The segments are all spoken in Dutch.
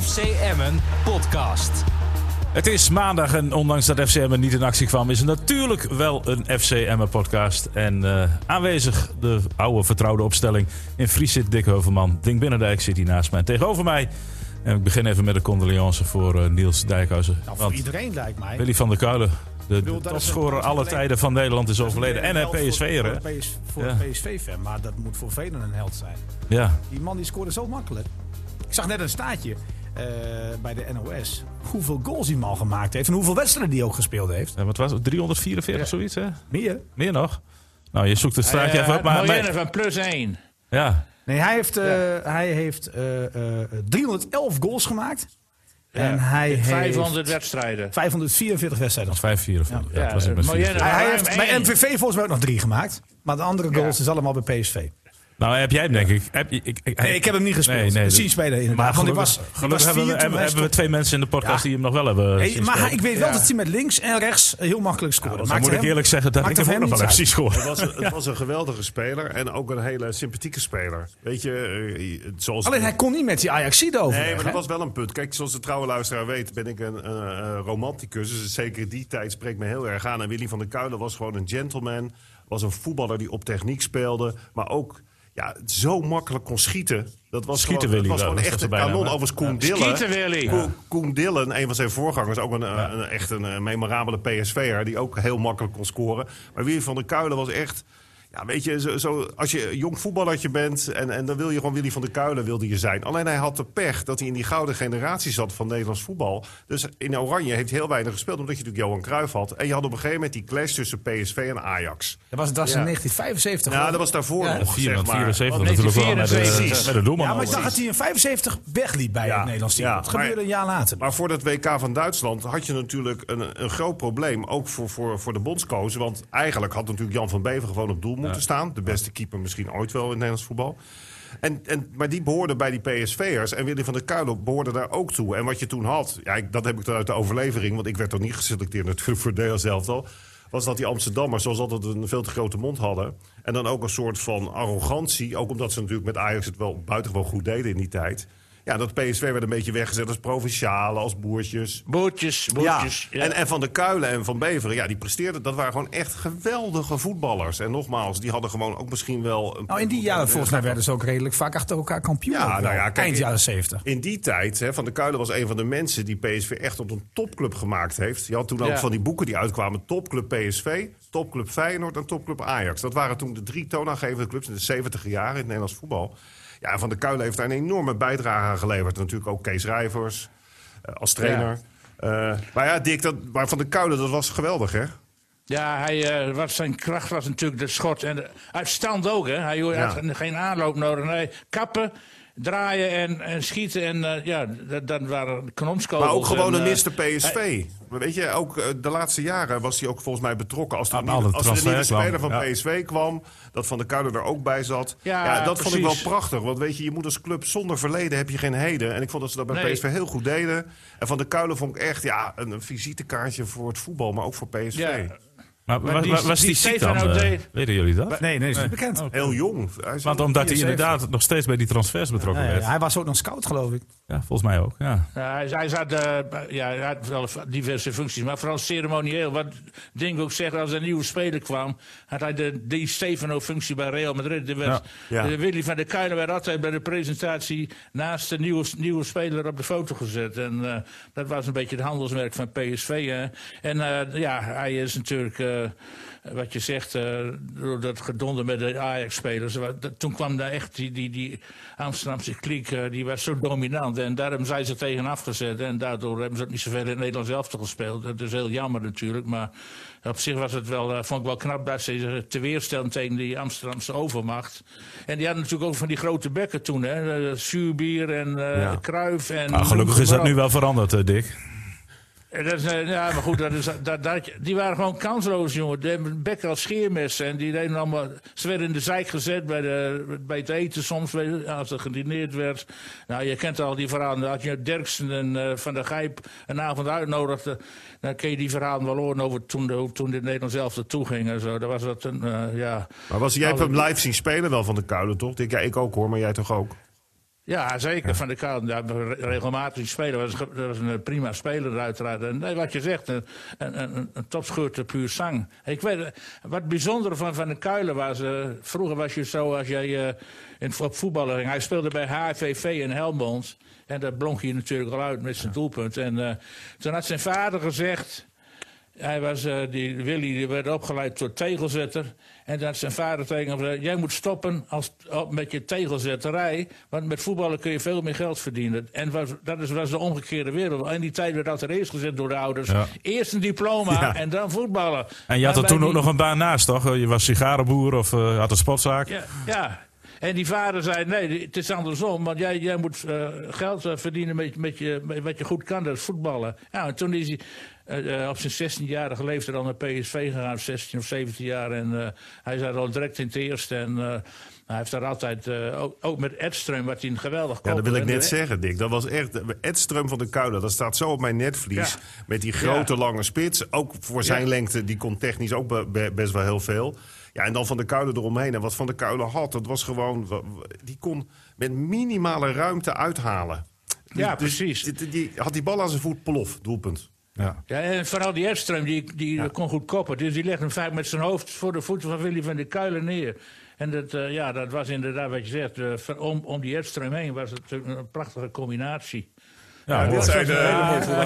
FC Emmen podcast. Het is maandag en ondanks dat FC Emmen niet in actie kwam, is er natuurlijk wel een FC Emmen podcast. En eh, aanwezig de oude vertrouwde opstelling in Fries zit Dick Heuvelman. Dink Binnendijk zit hier naast mij en tegenover mij. En ik begin even met de condoleance voor eh, Niels Dijkhuizen. Nou, voor want iedereen lijkt mij. Willy van der Kuilen, de, bedoel, de dat is een- topscorer dat is alle een- tijden van Nederland, is Dat is overleden. meer een En eh, een held voor- PSV'er, hè? Voor, een PS voor Ja. een PSV-fan, maar dat moet voor velen een held zijn. Ja. Die man die scoorde zo makkelijk. Ik zag net een staatje eh, bij de NOS. Hoeveel goals die man gemaakt heeft en hoeveel wedstrijden die ook gespeeld heeft. Ja, Wat was het? 344 Ja. zoiets, hè? Meer? Meer nog? Nou, je zoekt het straatje even op, maar... Miljoenen maar- van Eh, plus één. ja. Nee, hij heeft, eh, hij heeft eh, eh, 311 goals gemaakt. En hij In heeft 500 wedstrijden. 544 wedstrijden. Of 5 4 of ja. Ja, het was niet eh, met Miljoenen. 4. Hij, hij Ruim heeft bij één. MVV volgens mij ook nog drie gemaakt. Maar de andere goals Ja. is allemaal bij PSV. Nou, heb jij hem denk ik. Heb, je- ik, ik, Nee, ik heb hem niet gespeeld. Nee, nee, Ik zie dat- spelen inderdaad. Maar Want ik gelukkig, was- ik gelukkig was hebben, we, vier toen hebben, hij hebben we stopte. twee mensen in de podcast Ja. die hem nog dus wel hebben Hey, zien maar hij- spelen. ik weet wel dat hij met links en rechts heel makkelijk scoorde. Dan Maakt moet ik hem- eerlijk zeggen dat ik maakt hem het ook nog wel heb niet zien uit. scoren. Het was, het was een geweldige speler en ook een hele sympathieke speler. Weet je, eh, zoals... Alleen hij kon niet met die Ajaxide over. Nee, maar dat was wel een punt. Kijk, zoals de trouwe luisteraar weet, ben ik een eh, eh, romanticus. Dus zeker die tijd spreekt me heel erg aan. En Willy van der Kuilen was gewoon een gentleman. Was een voetballer die op techniek speelde. Maar ook ja, zo makkelijk kon schieten. Dat was Schieten gewoon, Willy dat was wel, gewoon dat echt was de een bijnaam, kanon. hè? Overigens Koen Ja. Dillen. Schieten Willy. Koen, Koen Dillen, een van zijn voorgangers. Ook een, eh, een- echt een, eh, memorabele PSV'er. Die ook heel makkelijk kon scoren. Maar Willy van der Kuilen was echt... Ja, weet je, zo, zo, als je een jong voetballertje bent en, en dan wil je gewoon Willy van der Kuilen wilde je zijn. Alleen hij had de pech dat hij in die gouden generatie zat van Nederlands voetbal. Dus in Oranje heeft heel weinig gespeeld, omdat je natuurlijk Johan Cruijff had. En je had op een gegeven moment die clash tussen PSV en Ajax. Dat was, dat was in Ja. 1975. Nou, hoor. dat was daarvoor Ja. nog, zeg maar. 74 Op natuurlijk wel met de, 1974. met de doelman. Ja, maar ik al. dacht dat hij in 75 wegliep bij Ja. het Nederlands team. Ja, dat gebeurde maar- een jaar later. Maar voor dat WK van Duitsland had je natuurlijk een, een groot probleem. Ook voor, voor, voor de bondscoach. Want eigenlijk had natuurlijk Jan van Bever gewoon op doel moeten staan. De beste keeper misschien ooit wel in het Nederlands voetbal. En, en, maar die behoorden bij die PSV'ers. En Willy van der Kuilen behoorde daar ook toe. En wat je toen had, ja, ik- dat heb ik dan uit de overlevering... want ik werd toch niet geselecteerd natuurlijk voor het Nederlands elftal... was dat die Amsterdammers zoals altijd een veel te grote mond hadden. En dan ook een soort van arrogantie. Ook omdat ze natuurlijk met Ajax het wel buitengewoon goed deden in die tijd. Ja, dat PSV werd een beetje weggezet als provincialen, als boertjes. Boertjes, boertjes. Ja. En, en Van de Kuilen en Van Beveren, ja, die presteerden. Dat waren gewoon echt geweldige voetballers. En nogmaals, die hadden gewoon ook misschien wel... Een nou, in die jaren volgens mij werden ze ook redelijk vaak achter elkaar kampioen. Ja, ook wel. nou ja, kijk, Eind ik- jaren 70. In die tijd, hè, Van der Kuilen was een van de mensen die PSV echt tot een topclub gemaakt heeft. Je had toen ook Ja. van die boeken die uitkwamen: Topclub PSV, Topclub Feyenoord en Topclub Ajax. Dat waren toen de drie toonaangevende clubs in de 70 jaren in het Nederlands voetbal. Ja, en Van der Kuilen heeft daar een enorme bijdrage aan geleverd. Natuurlijk ook Kees Rijvers eh, als trainer. Eh, maar ja, Dick, dat, maar Van der Kuilen, dat was geweldig, hè? Ja, hij, eh, wat zijn kracht was natuurlijk de schot. En de, uit stand ook, hè. Hij had geen aanloop nodig. Nee, kappen, draaien en, en schieten. En eh, ja, dat, dat waren kanonskogels. Maar ook gewoon en, een eh, Mr. PSV. Maar Weet je, ook eh, de laatste jaren was hij ook volgens mij betrokken. Als er Aan een alle nieuwe, als er een nieuwe transfers speler van kwam, ja. PSV kwam, dat Van der Kuilen er ook bij zat. Ja, Ja, dat vond ik precies. wel prachtig. Want weet je, je moet als club zonder verleden heb je geen heden. En ik vond dat ze dat bij Nee. PSV heel goed deden. En Van der Kuilen vond ik echt ja, een, een visitekaartje voor het voetbal, maar ook voor PSV. Ja. Maar wa- die- wa- was die die ziek Stefano dan? eh? deed- Weten jullie dat? Nee, nee, dat is niet bekend. Heel jong. Hij is Want heel- omdat hij 74. inderdaad nog steeds bij die transfers betrokken Nee, werd. hij was ook nog scout, geloof ik. Ja, volgens mij ook. Ja. Ja, hij, hij zat, eh, bij- ja, hij had wel diverse functies, maar vooral ceremonieel. Wat Ding ook zegt, als er een nieuwe speler kwam, had hij de Di Stefano-functie bij Real Madrid. Er werd, Ja. Ja. de Willy van der Kuilen werd altijd bij de presentatie naast de nieuwe, nieuwe speler op de foto gezet. En eh, dat was een beetje het handelsmerk van PSV. hè. En eh, ja, hij is natuurlijk, eh, wat je zegt, eh, door dat gedonder met de Ajax-spelers. wat- dat- Toen kwam daar echt die, die, die Amsterdamse kliek, eh, die was zo dominant. En daarom zijn ze tegen afgezet. En daardoor hebben ze ook niet zoveel in het Nederlands elftal gespeeld. Dat is heel jammer natuurlijk. Maar op zich was het wel, eh, vond ik wel knap dat ze zich te weerstellen tegen die Amsterdamse overmacht. En die hadden natuurlijk ook van die grote bekken toen. Hè? Eh, Zuurbier en eh Ja. Kruif. En Nou, gelukkig is dat nu wel veranderd, eh, Dick. en Dat is, eh, ja, maar goed, dat is, dat, dat, die waren gewoon kansloos, jongen. Die hebben bekken als scheermessen. En die deden allemaal, ze werden in de zijk gezet bij, de, bij het eten soms, weet je, als er gedineerd werd. Nou, je kent al die verhalen. Dan Had je Derksen en eh, Van der Gijp een avond uitnodigde, dan ken je die verhalen wel horen over toen, de, toen dit Nederland zelf ertoe ging en zo. Dat was dat een, eh, ja... Maar was, jij hebt Nou, hem live zien spelen wel van der Kuilen, toch? Dick? Ja, ik ook hoor, maar jij toch ook? Ja, zeker. Van de Kouwen. Daar hebben we re- regelmatig spelen. Dat was, ge- dat was een eh, prima speler, uiteraard. En nee, wat je zegt, een, een, een, een topschuur te puur zang. Ik weet, eh, wat bijzonder van Van de Kuilen was. eh, vroeger was je zo als jij eh, in, op voetballen ging. Hij speelde bij HVV in Helmond. En dat blonk je natuurlijk al uit met zijn doelpunt. En eh, toen had zijn vader gezegd. Hij was, eh, die Willy die werd opgeleid tot tegelzetter. En dat zijn vader tegen hem zei... jij moet stoppen als, op- met je tegelzetterij... want met voetballen kun je veel meer geld verdienen. En was, dat is, was de omgekeerde wereld. In die tijd werd dat er eerst gezet door de ouders. Ja. Eerst een diploma Ja. en dan voetballen. En je had Maar er bij toen ook die- nog een baan naast, toch? Je was sigarenboer of eh, had een sportzaak. Ja, ja. En die vader zei, nee, het is andersom. Want jij, jij moet eh, geld eh, verdienen met, met, je, met wat je goed kan, dat is voetballen. Nou, en toen is hij eh, eh, op zijn 16-jarige leeftijd al naar PSV gegaan, 16 of 17 jaar. En eh, hij zat al direct in het eerste. En eh, hij heeft daar altijd, eh, ook, ook met Edström, wat hij een geweldig Ja, dat wil ik koppel- net zeggen, Dick. Dat was echt. Edström van de Kuilen, dat staat zo op mijn netvlies. Ja. Met die grote Ja. lange spits. Ook voor zijn Ja. lengte, die kon technisch ook be- be- best wel heel veel. Ja, en dan van de Kuilen eromheen. En wat van de Kuilen had, dat was gewoon. wa- wa- Die kon met minimale ruimte uithalen. Dus Ja, precies. Die, die- had die bal aan zijn voet plof, doelpunt. Ja. Ja, en vooral die Edström, die, die kon goed koppen. Dus die legde hem vaak met zijn hoofd voor de voeten van Willy van de Kuilen neer. En dat, eh, ja, dat was inderdaad wat je zegt. eh, ver- om, om die Edström heen was het een, een prachtige combinatie. Ja, dit mooi. zijn eh, de-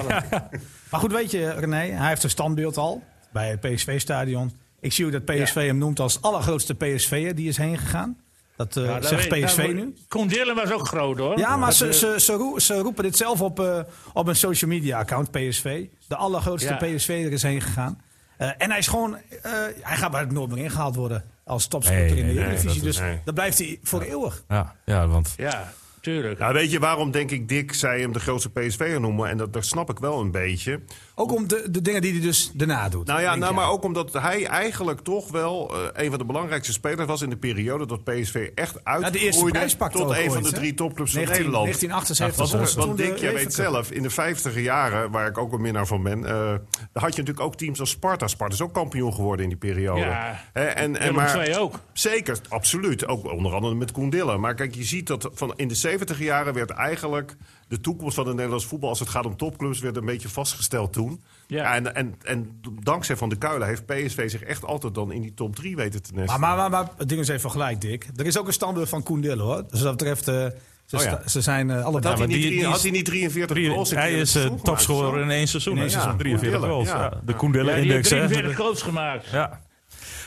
Maar goed, weet je, René, hij heeft een standbeeld al bij het PSV-stadion. Ik zie ook dat PSV hem noemt als het allergrootste PSV'er die is heen gegaan. Dat eh, Ja, Nou, daar zegt weet- PSV daar- nu. Koen Dillen was ook groot hoor. Ja, maar Dat, ze, eh, ze, ze, roe- ze roepen dit zelf op, eh, op een social media account, PSV. De allergrootste Ja. PSV er is heen gegaan. Eh, en hij is gewoon, eh, hij gaat bij het nooit meer ingehaald worden als topscorer Nee, in de nee, nee, Eredivisie. dat is- dus nee. dat blijft hij voor eeuwig. Ja, ja, want Ja, tuurlijk. Ja, weet je waarom, denk ik, Dick, zij hem de grootste PSV'er noemen? En dat, dat snap ik wel een beetje. Ook om de, de dingen die hij dus daarna doet. Nou ja, denk nou, jij. maar ook omdat hij eigenlijk toch wel eh, een van de belangrijkste spelers was in de periode dat PSV echt de eerste uitgroeide prijs pakte tot ook een van ooit, de hè? drie topclubs van 19, Nederland. 1978. Want, toen want de Dick, jij UEFA weet Cup. zelf, in de vijftiger jaren, waar ik ook een minnaar van ben, eh, daar had je natuurlijk ook teams als Sparta. Sparta is ook kampioen geworden in die periode. Ja. Hè, en, en Willem maar, II ook. Zeker, absoluut. Ook onder andere met Koen Dillen. Maar kijk, je ziet dat van in de 70 jaren werd eigenlijk de toekomst van het Nederlands voetbal, als het gaat om topclubs, werd een beetje vastgesteld toen. Ja. En, en, en dankzij Van de Kuilen heeft PSV zich echt altijd dan in die top 3 weten te Maar, nestelen. maar, maar, maar het ding is even gelijk, Dick. Er is ook een standbeeld van Koen Dillen, hoor. Dus wat dat betreft, eh, ze, Oh ja. sta- ze zijn eh, allebei... had, maar hij niet, die- drie- die had is- hij niet 43 drie- goals? een hij keer is het eh, seizoen topscorer gemaakt, in één seizoen. In één hè? seizoen. Ja, 43 Koen goals. Dillen, Ja. ja. De Koen Dillen Ja, die heeft Index. hè? 43 goals gemaakt. Ja.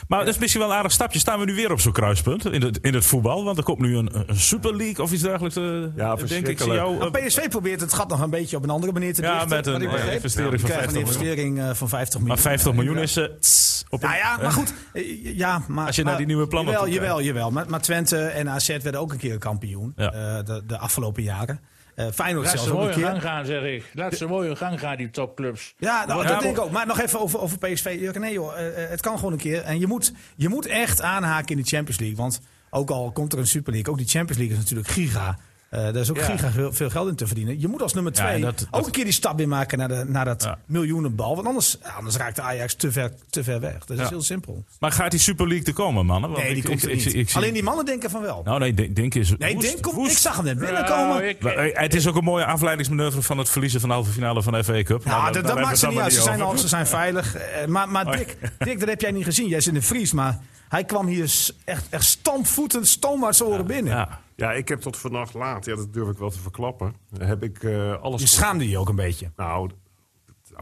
Maar het is misschien wel een aardig stapje. Staan we nu weer op zo'n kruispunt in het, in het voetbal? Want er komt nu een, een Super League of iets dergelijks. eh, denk ik. verschrikkelijk. Zie jou, eh, Nou, PSV probeert het gat nog een beetje op een andere manier te Ja, dichten. met een, wat ik eh, begreep. investering Die van krijgen 50 een investering eh, van 50 miljoen. maar 50 Eh, miljoen ja. is. eh, tss, op een, Nou ja, eh, maar goed. eh, Ja, maar, Als je naar maar- die nieuwe plannen Jawel, toe kijkt. jawel, jawel. Maar, maar Twente en AZ werden ook een keer kampioen. Ja. eh, de, de afgelopen jaren. Eh Feyenoord Laat zelfs ze ook mooi een hun keer. gang gaan, zeg ik. Laat ze mooi hun gang gaan, die topclubs. Ja, nou, dat maar- denk ik ook. Maar nog even over, over PSV. Ja, Nee joh, eh, eh, het kan gewoon een keer. En je moet, je moet echt aanhaken in de Champions League. Want ook al komt er een Super League, ook die Champions League is natuurlijk giga. Eh daar is ook Ja. giga veel, veel geld in te verdienen. Je moet als nummer Ja, twee en dat- ook dat- een keer die stap weer maken naar, de, naar dat Ja. miljoenenbal. Want anders, anders raakt de Ajax te ver, te ver weg. Dat is Ja. heel simpel. Maar gaat die Super League er komen, mannen? Want Nee, die ik- komt ik- er ik- niet. ik- ik zie- Alleen die mannen denken van wel. Nou, nee, Dink- Dink is. nee, woest, denk, kom, woest. ik zag hem net binnenkomen. Nou, ik- Maar, eh, Het is ook een mooie afleidingsmanoeuvre van het verliezen van de halve finale van de FA Cup. Nou, Maar, eh, dat, daar dat maakt hebben ze we niet het uit. Ze zijn, dan maar al, ze zijn veilig. Eh, maar maar Oh. Dick, Dick, dat heb jij niet gezien. Jij zit in de Fries, maar hij kwam hier s- echt, echt stampvoetend, stoomwaarts horen binnen. over. Ja. Ja, ik heb tot vannacht laat, ja, dat durf ik wel te verklappen, heb ik eh, alles... Je schaamde je ook een beetje. Nou,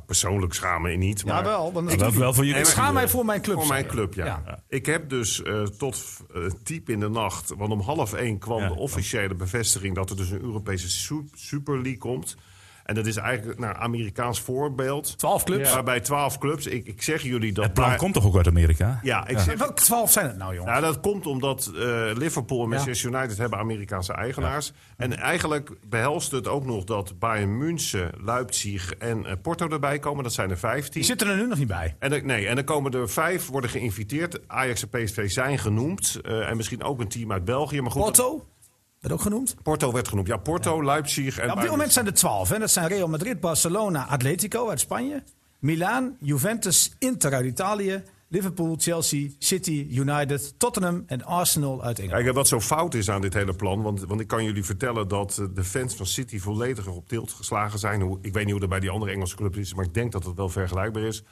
persoonlijk schamen en niet, maar... Jawel, want Ja, wel- wel voor je ik club. schaam mij voor mijn club. Voor zei mijn je. club, ja. Ik heb dus eh, tot eh, diep in de nacht, want om half één kwam Ja. de officiële bevestiging dat er dus een Europese su- Super League komt. En dat is eigenlijk naar Amerikaans voorbeeld. 12 clubs. Ja. Waarbij twaalf clubs, ik, ik zeg jullie dat. Het plan maar- komt toch ook uit Amerika? Ja, ik zeg Welke 12 zijn het nou, jongen? ja, dat komt omdat eh, Liverpool en Manchester United hebben Amerikaanse eigenaars. En eigenlijk behelst het ook nog dat Bayern München, Leipzig en eh, Porto erbij komen. Dat zijn er 15. Die zitten er nu nog niet bij. En er, nee, en dan komen er vijf, worden geïnviteerd. Ajax en PSV zijn genoemd. eh, en misschien ook een team uit België. Maar goed, Porto, werd ook genoemd. Porto werd genoemd. Ja, Porto, Leipzig en Ja, op dit Bayern. moment zijn er 12. Hè. Dat zijn Real Madrid, Barcelona, Atletico uit Spanje. Milaan, Juventus, Inter uit Italië. Liverpool, Chelsea, City, United, Tottenham en Arsenal uit Engeland. Kijk, en wat zo fout is aan dit hele plan, want, want ik kan jullie vertellen dat eh, de fans van City volledig op tilt geslagen zijn. Hoe, ik weet niet hoe dat bij die andere Engelse clubs is, maar ik denk dat het wel vergelijkbaar is.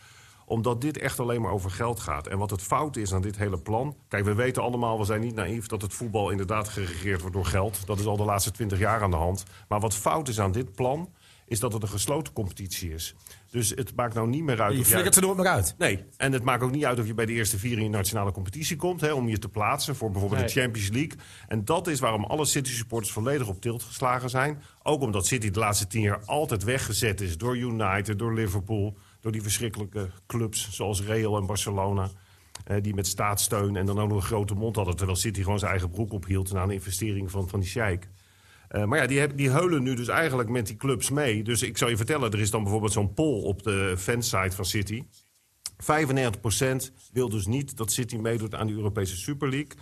Omdat dit echt alleen maar over geld gaat. En wat het fout is aan dit hele plan. Kijk, we weten allemaal, we zijn niet naïef, dat het voetbal inderdaad geregeerd wordt door geld. Dat is al de laatste twintig jaar aan de hand. Maar wat fout is aan dit plan, is dat het een gesloten competitie is. Dus het maakt nou niet meer uit. Je of jij- flikkert ze door elkaar uit. Nee, en het maakt ook niet uit of je bij de eerste vier in je nationale competitie komt... Hè, om je te plaatsen voor bijvoorbeeld de Nee. Champions League. En dat is waarom alle City-supporters volledig op tilt geslagen zijn. Ook omdat City de laatste tien jaar altijd weggezet is door United, door Liverpool... door die verschrikkelijke clubs zoals Real en Barcelona... eh, die met staatssteun en dan ook nog een grote mond hadden... terwijl City gewoon zijn eigen broek ophield na een investering van, van die sheik. Eh, maar ja, die, heb, die heulen nu dus eigenlijk met die clubs mee. Dus ik zal je vertellen, er is dan bijvoorbeeld zo'n poll op de fansite van City... 95% wil dus niet dat City meedoet aan de Europese Super League.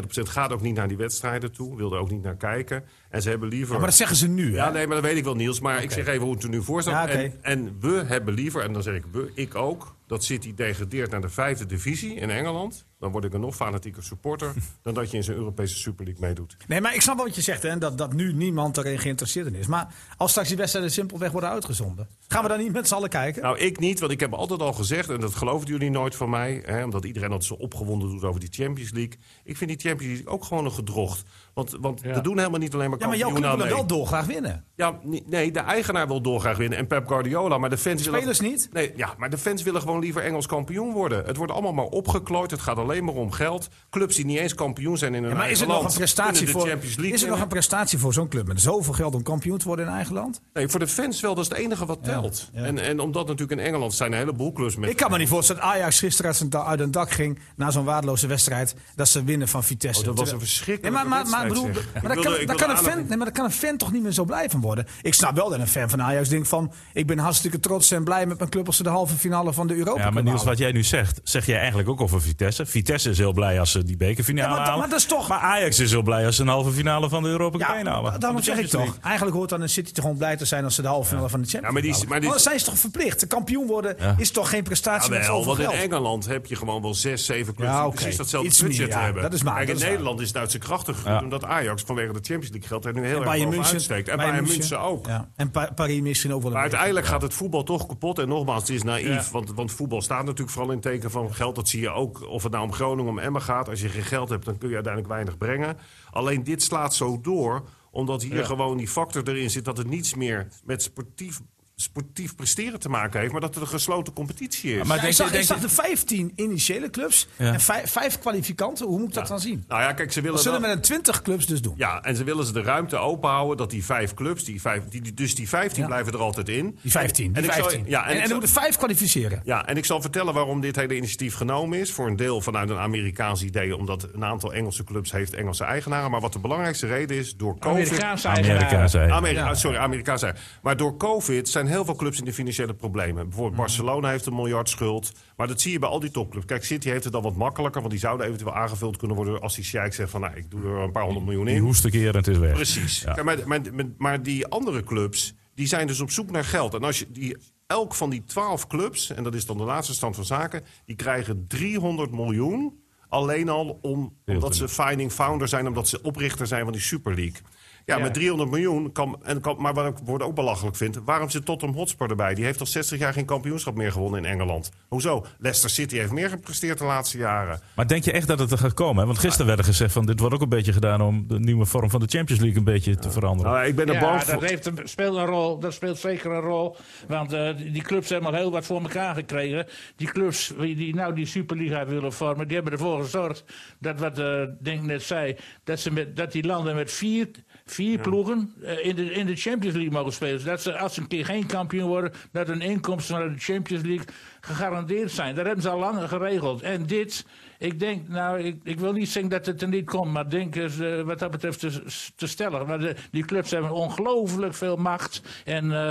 95% gaat ook niet naar die wedstrijden toe, wil er ook niet naar kijken. En ze hebben liever. Maar dat zeggen ze nu. hè? Ja, nee, maar dat weet ik wel, Niels. Maar ik zeg even hoe het er nu voor staat. Ja, oké. en, en we hebben liever, en dan zeg ik we, ik ook, dat City degradeert naar de vijfde divisie in Engeland. Dan word ik een nog fanatieker supporter dan dat je in zijn Europese Super League meedoet. Nee, maar ik snap wel wat je zegt, hè, dat, dat nu niemand erin geïnteresseerd in is. Maar als straks die wedstrijden simpelweg worden uitgezonden, gaan we dan niet met z'n allen kijken? Nou, ik niet, want ik heb altijd al gezegd, en dat geloven jullie nooit van mij, hè, omdat iedereen altijd zo opgewonden doet over die Champions League. Ik vind die Champions League ook gewoon een gedrocht. Want, want Ja. dat doen helemaal niet alleen maar ja, maar jouw kampioenen club wil aan er mee. wel dolgraag winnen. Ja, nee, nee, de eigenaar wil dolgraag winnen en Pep Guardiola, maar de fans willen... Spelers niet? Nee, ja, maar de fans willen gewoon liever Engels kampioen worden. Het wordt allemaal maar opgeklooid, het gaat alleen maar om geld. Clubs die niet eens kampioen zijn in hun Ja, maar is eigen er nog een land, kunnen prestatie de voor, Champions League is er nog winnen. een prestatie voor zo'n club met zoveel geld om kampioen te worden in eigen land? Nee, voor de fans wel, dat is het enige wat telt. ja. En, en omdat natuurlijk in Engeland zijn een heleboel clubs met... Ik kan me niet voorstellen dat Ajax gisteren uit, zijn da- uit een dak ging na zo'n waardeloze wedstrijd dat ze winnen van Vitesse. Oh, dat was een Nee, verschrikkelijke maar, maar, maar, bedoel, wedstrijd, zeg. maar, Ik dat wilde- kan, ik dat wilde kan een fan, aandacht- nee, maar dat kan een fan toch niet meer zo blij van worden? Ik snap wel dat een fan van Ajax denkt van... ik ben hartstikke trots en blij met mijn club als ze de halve finale van de Europa Ja, maar Cup Niels, halen. wat jij nu zegt, zeg jij eigenlijk ook over Vitesse. Vitesse is heel blij als ze die bekerfinale Ja, maar dat- halen. maar dat is toch- Maar Ajax is heel blij als ze een halve finale van de Europa Ja, Cup nou, halen. da- Van de daarom zeg ik Champions toch. Eigenlijk hoort dan een City toch gewoon blij te zijn als ze de halve finale van de Champions Ja, maar die- League maar die- halen. Want zijn ze toch verplicht? De kampioen worden Ja. is toch geen prestatie met Jawel, zoveel Ah, want in Ah, geld? Engeland heb je gewoon wel zes, zeven clubs Ja, die oké. precies datzelfde Iets budget meer, ja. hebben. Dat is waar, Kijk, in dat is waar. Nederland is het uit zijn krachten gegroeid, Ja. omdat Ajax vanwege de Champions League geld er nu heel En erg Bayern boven München, uitsteekt. En Bayern München ook. Ja. En Pa- Paris misschien ook wel Maar een beetje. uiteindelijk gaat het voetbal toch kapot. En nogmaals, het is naïef. Ja. Want, want voetbal staat natuurlijk vooral in het teken van geld. Dat zie je ook. Of het nou om Groningen, om Emmen gaat. Als je geen geld hebt, dan kun je uiteindelijk weinig brengen. Alleen dit slaat zo door. Omdat hier gewoon die factor erin zit dat het niets meer met sportief, sportief presteren te maken heeft. Maar dat het een gesloten competitie is. Maar denk Ja, ik je- zag, ik denk je- zag de 15 initiële clubs Ja. en vijf, vijf kwalificanten. Hoe moet ik dat dan zien? nou ja, kijk, ze willen Dat zullen wel- we met een 20 clubs dus doen. Ja, en ze willen ze de ruimte openhouden dat die vijf clubs, die vijf, die, die- dus die 15 Ja. blijven er altijd in. Die 15. En die ik zal- 15. ja, en en ik en er zal- moeten vijf kwalificeren. Ja, en ik zal vertellen waarom dit hele initiatief genomen is. Voor een deel vanuit een Amerikaans idee, omdat een aantal Engelse clubs heeft Engelse eigenaren. Maar wat de belangrijkste reden is, door COVID... Amerikaanse eigenaar. Amerika zei. Ameri- ah, sorry, Amerikaans. zijn. Maar door COVID zijn heel veel clubs in de financiële problemen. Bijvoorbeeld Mhm. Barcelona heeft een miljard schuld. Maar dat zie je bij al die topclubs. Kijk, City heeft het dan wat makkelijker. Want die zouden eventueel aangevuld kunnen worden als die Sheikh zegt van... Nou, ik doe er een paar honderd miljoen Die in. hoest een keer en het is weg. Precies. Ja. Kijk, maar, maar, maar- maar die andere clubs, die zijn dus op zoek naar geld. En als je die, elk van die twaalf clubs, en dat is dan de laatste stand van zaken, die krijgen 300 miljoen. Alleen al om, omdat ze finding founder zijn, omdat ze oprichter zijn van die Super League. Ja, Ja. met 300 miljoen kan, en kan. Maar wat ik word ook belachelijk vind. Waarom zit Tottenham Hotspur erbij? Die heeft al 60 jaar geen kampioenschap meer gewonnen in Engeland. Hoezo? Leicester City heeft meer gepresteerd de laatste jaren. Maar denk je echt dat het er gaat komen? Hè? Want gisteren werd er gezegd van dit wordt ook een beetje gedaan om de nieuwe vorm van de Champions League een beetje te veranderen. Nou, ik ben er Ja, bang dat, voor. heeft een, speelt een rol. Dat speelt zeker een rol. Want eh, die die clubs hebben al heel wat voor elkaar gekregen. Die clubs die die nou die Superliga willen vormen, die hebben ervoor gezorgd dat wat eh Denk net zei, dat, ze met, dat die landen met vier, vier ploegen eh, in, de, in de Champions League mogen spelen. Zodat ze als ze een keer geen kampioen worden, dat hun inkomsten vanuit de Champions League gegarandeerd zijn. Dat hebben ze al lang geregeld. En dit Ik denk, nou, ik, ik wil niet zeggen dat het er niet komt, maar ik denk is, eh, wat dat betreft te, te stellig. Want eh, die clubs hebben ongelooflijk veel macht. En, eh,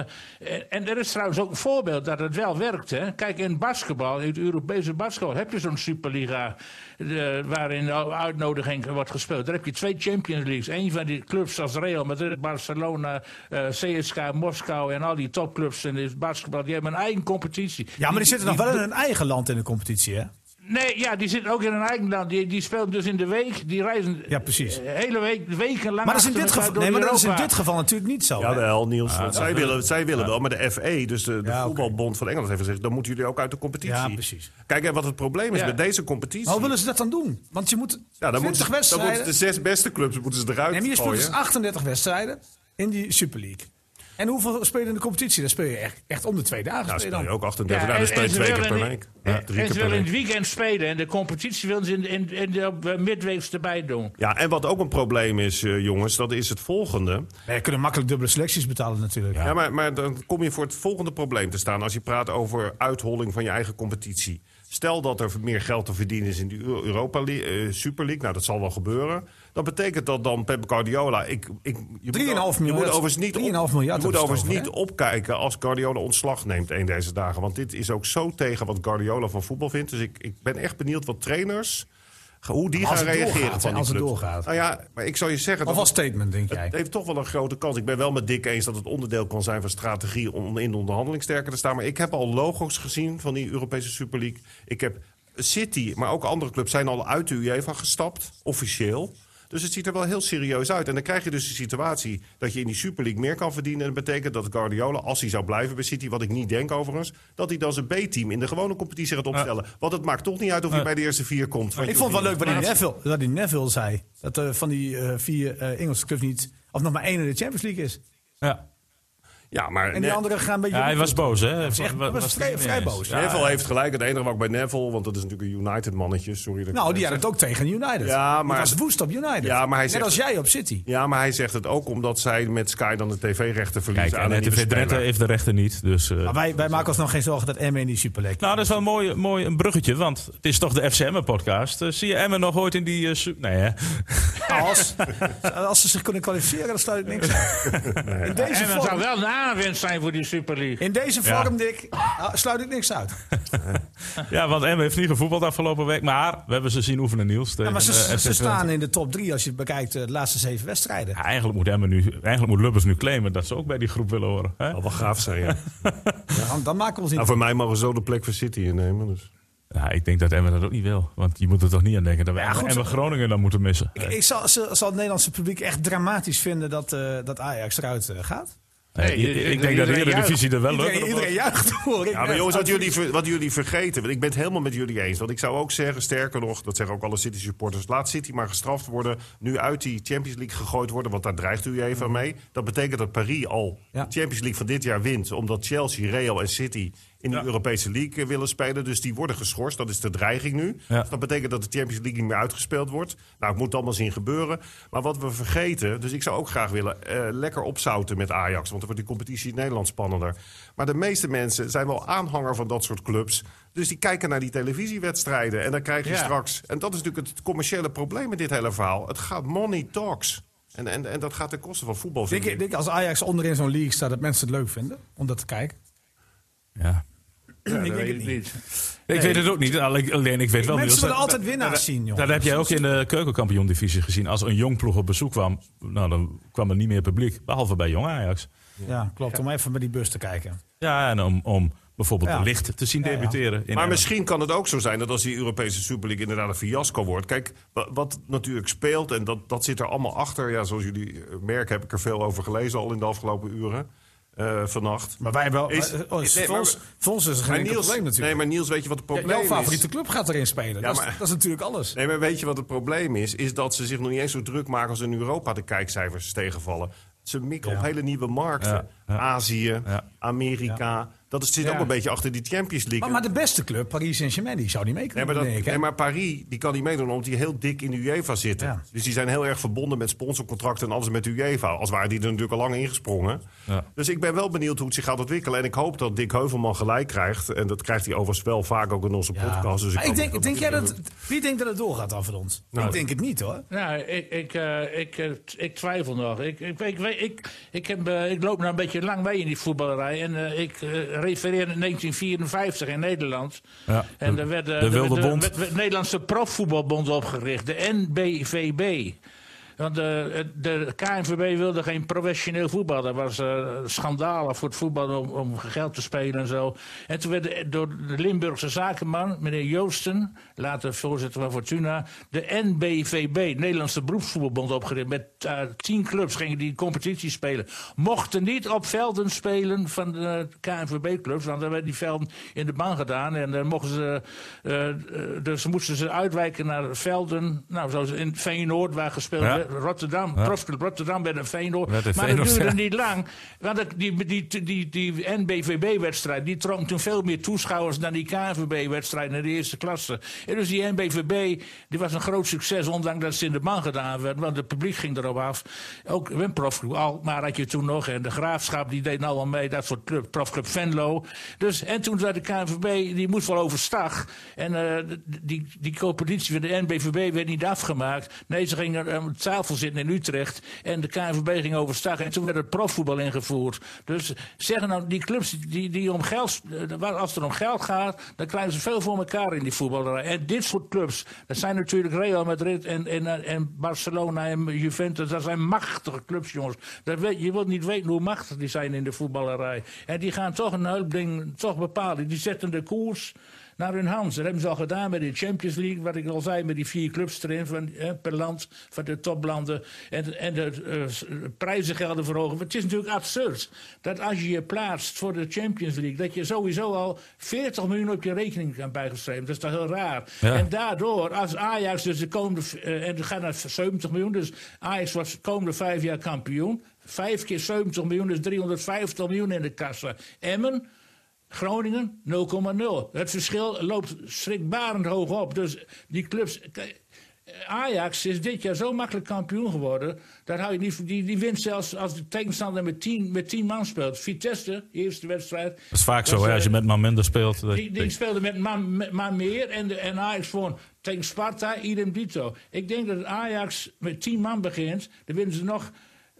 en, en er is trouwens ook een voorbeeld dat het wel werkt. Hè? Kijk, in basketbal, in het Europese basketbal, heb je zo'n Superliga eh, waarin de uitnodiging wordt gespeeld. Daar heb je twee Champions Leagues. Eén van die clubs als Real Madrid, Barcelona, eh CSK, Moskou en al die topclubs in het basketbal, die hebben een eigen competitie. Ja, maar die zitten nog wel in doen- hun eigen land in de competitie, hè? Nee, ja, die zitten ook in hun eigen land. Die, die spelen dus in de week. Die reizen Ja, precies. eh, hele week, weken Maar lang. dat is in dit geval, nee, maar dat is in dit geval natuurlijk niet zo. hè? Jawel, Niels. Ah, want zij willen, zij willen wel, maar de FE, dus de, de Ja, oké. voetbalbond van Engeland, heeft gezegd... dan moeten jullie ook uit de competitie. Ja, precies. Oh, Kijk, en wat het probleem is Ja. met deze competitie... Maar hoe willen ze dat dan doen? Want je moet ja, 20 dan moeten, ze, dan wedstrijden... moeten ze de zes beste clubs moeten ze en eruit hier speelt dus gooien. 38 wedstrijden in die Super League. En hoeveel speel je in de competitie? Dan speel je echt, echt om de twee dagen. Ja, speel ze je spelen dan. ook 38. Ja, dan speel je Nou, twee keer per week. Ja, drie en keer ze per willen in het week. weekend spelen. En de competitie willen ze in, in, in de, op, eh, midweeks erbij doen. Ja, en wat ook een probleem is, eh, jongens, dat is het volgende. Nee, je kunnen makkelijk dubbele selecties betalen natuurlijk. Ja, maar, maar dan kom je voor het volgende probleem te staan als je praat over uitholling van je eigen competitie. Stel dat er meer geld te verdienen is in de Eu- Europa League, eh, Super League. Nou, dat zal wel gebeuren. Dat betekent dat dan Pep Guardiola... Ik, ik, je 3,5 moet, o- je moet miljard. overigens niet, 3,5 miljard je moet hebben ze overigens het niet opkijken als Guardiola ontslag neemt een deze dagen. Want dit is ook zo tegen wat Guardiola van voetbal vindt. Dus ik, ik ben echt benieuwd wat trainers... ge- Hoe die Maar als gaan het reageren doorgaat, van hè, die als het clubs. doorgaat. Nou ja, maar ik zou je zeggen... Of dat- als statement, denk jij? het heeft toch wel een grote kans. Ik ben wel met Dick eens dat het onderdeel kan zijn van strategie om in de onderhandeling sterker te staan. Maar ik heb al logo's gezien van die Europese Super League. Ik heb City, maar ook andere clubs zijn al uit de UEFA gestapt, officieel. Dus het ziet er wel heel serieus uit. En dan krijg je dus de situatie dat je in die Super League meer kan verdienen. En dat betekent dat Guardiola, als hij zou blijven bij City, wat ik niet denk overigens, dat hij dan zijn B-team in de gewone competitie gaat opstellen. Want het maakt toch niet uit of je bij de eerste vier komt. Want Ik je vond het wel leuk hoeft wat die niet- Neville, wat die Neville zei. Dat eh, van die eh, vier eh, Engelse clubs niet... of nog maar één in de Champions League is. Ja. Ja, maar En ne- die anderen gaan een beetje... Ja, hij was boos, hè? was echt- hij was vrij- niet vrij eens. boos. Ja, Neville heeft gelijk. Het enige wat ik bij Neville, want dat is natuurlijk een United mannetje. Sorry. dat ik Nou, het die zeg. had het ook tegen United. Ja, Die maar- was woest op United. Ja, maar hij Net zegt- als jij op City. Ja, maar hij zegt het ook omdat zij met Sky dan de tv-rechten verliezen Kijk, en aan het een nieuwe Vedrette speler. heeft de rechten niet. Dus, eh, Maar wij, wij maken ons nog geen zorgen dat Emmen in die Super League... Nou, dat is wel een mooi, mooi een bruggetje, want het is toch de FCM-podcast. Eh, zie je Emmen nog ooit in die... eh, su- nee, hè? Als, als ze zich kunnen kwalificeren, dan staat ik niks aan. In deze En dat zou vorm, wel een aanwinst zijn voor die Super League. in deze vorm Dick, ah, sluit ik niks uit. Ja, want Emmen heeft niet gevoetbald afgelopen week, maar we hebben ze zien oefenen, Niels. Ja, tegen, maar ze, eh, ze FC Twente. staan in de top drie als je bekijkt eh, de laatste zeven wedstrijden. Ja, eigenlijk, moet Emmen nu, eigenlijk moet Lubbers nu claimen dat ze ook bij die groep willen horen. Hè? Dat wel gaaf zijn, ja. Dan, dan maken we ons niet... nou, voor mij mogen ze zo de plek voor City innemen. Dus. Ja, ik denk dat Emmen dat ook niet wil. Want je moet er toch niet aan denken dat we Ja, goed, Emmen Groningen dan moeten missen. Ik, ik zal, zal zal het Nederlandse publiek echt dramatisch vinden dat, eh, dat Ajax eruit eh, gaat. Nee, Nee, ik- i- ik i- denk dat de iedereen Eredivisie er wel leuk Iedereen, iedereen juicht hoor. Ik Ja, maar echt. jongens, wat jullie, ver- wat jullie vergeten. Want ik ben het helemaal met jullie eens. Want ik zou ook zeggen, sterker nog, dat zeggen ook alle City supporters. Laat City maar gestraft worden. Nu uit die Champions League gegooid worden. Want daar dreigt u even mee. Dat betekent dat Paris al Ja. de Champions League van dit jaar wint. Omdat Chelsea, Real en City in de Europese League eh, willen spelen. Dus die worden geschorst. Dat is de dreiging nu. Ja. Dus dat betekent dat de Champions League niet meer uitgespeeld wordt. Nou, het moet allemaal zien gebeuren. Maar wat we vergeten, dus ik zou ook graag willen... eh, lekker opzouten met Ajax. Want dan wordt die competitie in Nederland spannender. Maar de meeste mensen zijn wel aanhanger van dat soort clubs. Dus die kijken naar die televisiewedstrijden. En dan krijg je Ja. straks... En dat is natuurlijk het commerciële probleem met dit hele verhaal. Het gaat money talks. En, en, en dat gaat ten koste van voetbal. Denk vind je- ik. denk je als Ajax onderin zo'n league staat, dat mensen het leuk vinden om dat te kijken. Ja. Ja, dat denk weet het ik niet. Ik weet het ook niet, alleen alleen ik weet wel... mensen Niels, willen dat- altijd winnaars zien, jongen. Dat heb jij ook in de keukenkampioen-divisie gezien. Als een jong ploeg op bezoek kwam, nou, dan kwam er niet meer publiek. Behalve bij jong Ajax. Ja, klopt. Om even bij die bus te kijken. Ja, en om, om bijvoorbeeld Ja. de licht te zien Ja, ja. debuteren. in Maar Emmen. misschien kan het ook zo zijn dat als die Europese Super League inderdaad een fiasco wordt. Kijk, wa- wat natuurlijk speelt, en dat, dat zit er allemaal achter. Ja, zoals jullie eh, merken, heb ik er veel over gelezen al in de afgelopen uren. eh, vannacht. Maar wij hebben wel. Is- eh, oh, is- nee, voor, maar- ons, voor ons is het geen Maar enkel probleem natuurlijk. nee, maar Niels, weet je wat het Ja, probleem jouw favoriete is? club gaat erin spelen. dat, maar- is, dat is natuurlijk alles. Nee, maar weet je wat het probleem is? Is dat ze zich nog niet eens zo druk maken als in Europa de kijkcijfers tegenvallen. Ze mikken op hele nieuwe markten. Ja, ja. Azië, Ja. Amerika, Dat is, zit Ja. ook een beetje achter die Champions League. Maar, maar de beste club, Paris Saint-Germain, die zou niet mee Nee, kunnen. maar, dat, denk ik, hè? nee, maar Paris die kan niet meedoen omdat die heel dik in de UEFA zitten. Ja. Dus die zijn heel erg verbonden met sponsorcontracten en alles met de UEFA. Als waren die er natuurlijk al lang ingesprongen. Ja. Dus ik ben wel benieuwd hoe het zich gaat ontwikkelen. En ik hoop dat Dick Heuvelman gelijk krijgt. En dat krijgt hij overigens wel vaak ook in onze Ja. podcast. Dus ik Maar ik hoop denk, denk jij hij dat, doet. wie denkt dat het doorgaat dan van ons? Nou, ik denk het niet hoor. Nou, ik, ik, eh, ik, eh, t- ik twijfel nog. Ik, ik, ik, weet- ik, ik, heb, eh, ik loop nou een beetje lang mee in die voetballerij. En eh, ik eh, refereer in 1954 in Nederland. Ja. En De- er werd, eh, de er Wilde werd, eh, Bond. werd- werd Nederlandse profvoetbalbond opgericht, de NBVB. Want de, de KNVB wilde geen professioneel voetbal. Dat was eh schandalen voor het voetbal om, om geld te spelen en zo. En toen werd de- door de Limburgse zakenman, meneer Joosten, later voorzitter van Fortuna, de NBVB, Nederlandse Beroepsvoetbalbond, opgericht. Met eh, tien clubs gingen die competitie spelen. Mochten niet op velden spelen van de KNVB-clubs, want dan werden die velden in de baan gedaan. En dan mochten ze, eh, eh, dus moesten ze uitwijken naar velden, nou, zoals in Feyenoord, waar gespeeld Ja. werd. Rotterdam, profclub Rotterdam werd een Feyenoord. Werd een maar Feyenoord, dat duurde ja. niet lang. Want dat- die, die, die, die, die NBVB-wedstrijd die trok toen veel meer toeschouwers dan die KNVB-wedstrijd in de eerste klasse. En dus die NBVB die was een groot succes, ondanks dat ze in de man gedaan werd. Want het publiek ging erop af. Ook een profclub al, maar had je toen nog. En de Graafschap die deed nou al mee, dat soort club, profclub Venlo. Dus, en toen zei de KNVB, die moest wel overstag. En eh, d- die, die competitie van de NBVB werd niet afgemaakt. Nee, ze gingen aan tafel zitten in Utrecht. En de KNVB ging overstag. En toen werd het profvoetbal ingevoerd. Dus zeggen nou, die clubs die, die om geld. eh, waar- Als het om geld gaat, dan krijgen ze veel voor elkaar in die voetballerij. En dit soort clubs, dat zijn natuurlijk Real Madrid en, en, eh, en Barcelona en Juventus. Dat zijn machtige clubs, jongens. Dat weet, je wilt niet weten hoe machtig die zijn in de voetballerij. En die gaan toch een heel ding toch bepalen. Die zetten de koers naar hun hand. Dat hebben ze al gedaan met de Champions League, wat ik al zei, met die vier clubs erin van, eh, per land, van de toplanden. En, en de eh, s- prijzen gelden verhogen. Maar het is natuurlijk absurd dat als je je plaatst voor de Champions League, dat je sowieso al 40 miljoen op je rekening kan bijgeschreven. Dat is toch heel raar. Ja. En daardoor, als Ajax dus de komende. v- eh, en het gaat naar 70 miljoen, dus Ajax was de komende vijf jaar kampioen. Vijf keer 70 miljoen, dus 350 miljoen in de kassa. Emmen, Groningen 0,0. Het verschil loopt schrikbarend hoog op. Dus die clubs. k- Ajax is dit jaar zo makkelijk kampioen geworden. Dat hou je niet, die, die wint zelfs als de tegenstander met 10 met tien man speelt. Vitesse, eerste wedstrijd. Dat is vaak was, zo, hè, eh, als je met man minder speelt. dat- die, die speelde met maar, met maar meer en, de, en Ajax won. Tegen Sparta, idem dito. Ik denk dat Ajax met 10 man begint. Dan winnen ze nog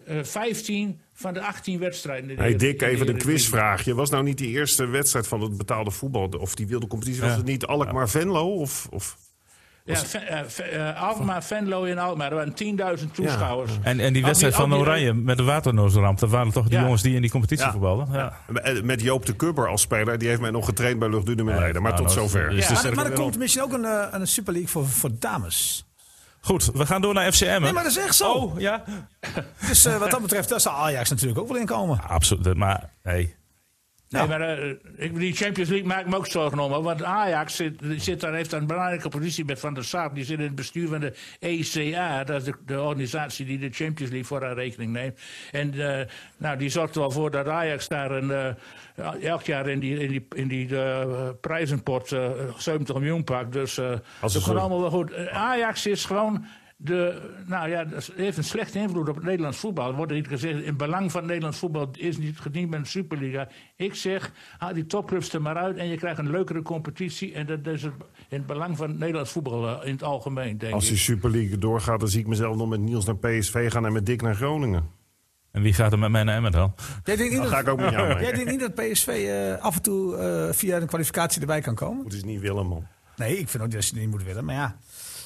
eh 15 van de 18 wedstrijden. in de Hey Eredivisie. Dick, even een quizvraagje. Was nou niet die eerste wedstrijd van het betaalde voetbal... of die wilde competitie, was Ja. het niet Alkmaar-Venlo? Of, of... Ja, Ven- eh, Ven- eh, Alkmaar, Venlo in Alkmaar. Er waren 10.000 toeschouwers. En, en die wedstrijd al die- van al die- Oranje met de waternoosramp, dat waren toch die Ja. jongens die in die competitie Ja. voetbalden? Ja. Eh, Met Joop de Kubber als speler. Die heeft mij nog getraind bij Luchtdunen Leiden. Maar nou, tot dat is- zover. is Ja, de maar, sterke maar er wil. komt misschien ook een, eh, een Super League voor, voor dames. Goed, we gaan door naar FCM. Nee, maar dat is echt zo. Oh, ja? Dus eh, wat dat betreft, daar zal Ajax natuurlijk ook wel in komen. Absoluut, maar hey. Nee, Ja. maar eh, ik, die Champions League maakt me ook zorgen om. hoor. Want Ajax zit, die zit daar, heeft daar een belangrijke positie met Van der Saar. Die zit in het bestuur van de ECA. Dat is de, de organisatie die de Champions League voor haar rekening neemt. En eh, nou, die zorgt er wel voor dat Ajax daar een, eh, elk jaar in die, in die, in die eh, prijzenpot eh, 70 miljoen pakt. Dus eh, Als dat een komt soort- allemaal wel goed. Eh, Ajax is gewoon. De, nou ja, dat heeft een slechte invloed op het Nederlands voetbal. Er wordt niet gezegd, in belang van het Nederlands voetbal is niet gediend met een Superliga. Ik zeg, haal die topclubs er maar uit en je krijgt een leukere competitie. En dat is het, in het belang van het Nederlands voetbal eh, in het algemeen, denk Als ik. die Super League doorgaat, dan zie ik mezelf nog met Niels naar PSV gaan... en met Dick naar Groningen. En wie gaat er met mij naar Emmen dan? Jij denkt niet Dan ga dat, ik ook met jou mee. jij denkt niet dat PSV eh, af en toe eh, via een kwalificatie erbij kan komen? Het is niet Willem, man. Nee, ik vind ook dat je het niet moet willen, maar ja.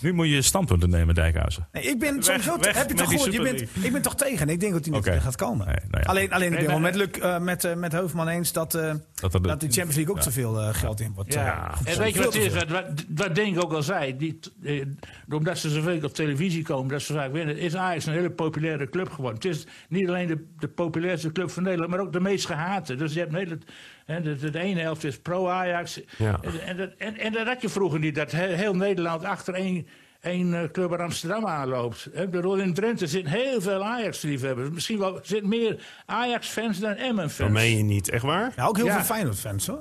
Nu moet je standpunten nemen, Dijkhuizen. Nee, ik ben sowieso... weg heb je met toch die gehoord? Je Super bent, ik ben toch tegen. Ik denk dat hij niet Oké. gaat komen. Nee, nou ja. Alleen, alleen ik Nee, ben wel maar- met, Luc, eh, met, eh, met Heuvelman eens dat, eh, Dat dat, er de- de Champions League ook te veel eh, geld in wordt. Ja. eh, En gestopt. weet je wat het Veel is? te veel. Wat, wat, wat Denk ook al zei. Die, t- eh, omdat ze zoveel op televisie komen, dat ze vaak winnen, is Ajax een hele populaire club geworden. Het is niet alleen de, de populairste club van Nederland, maar ook de meest gehate. Dus je hebt een hele. hè, de, de, de ene helft is pro-Ajax. Ja. En, en, dat- en, en dat had je vroeger niet. Dat he- heel Nederland achter één. één eh, club uit Amsterdam aanloopt. Hè, Ik bedoel, in Drenthe zitten heel veel Ajax-liefhebbers. Misschien wel zitten meer Ajax-fans dan Dat Emmen-fans. meen je niet, echt Oh, waar? Ja, ook heel Ja. veel Feyenoord-fans, hoor.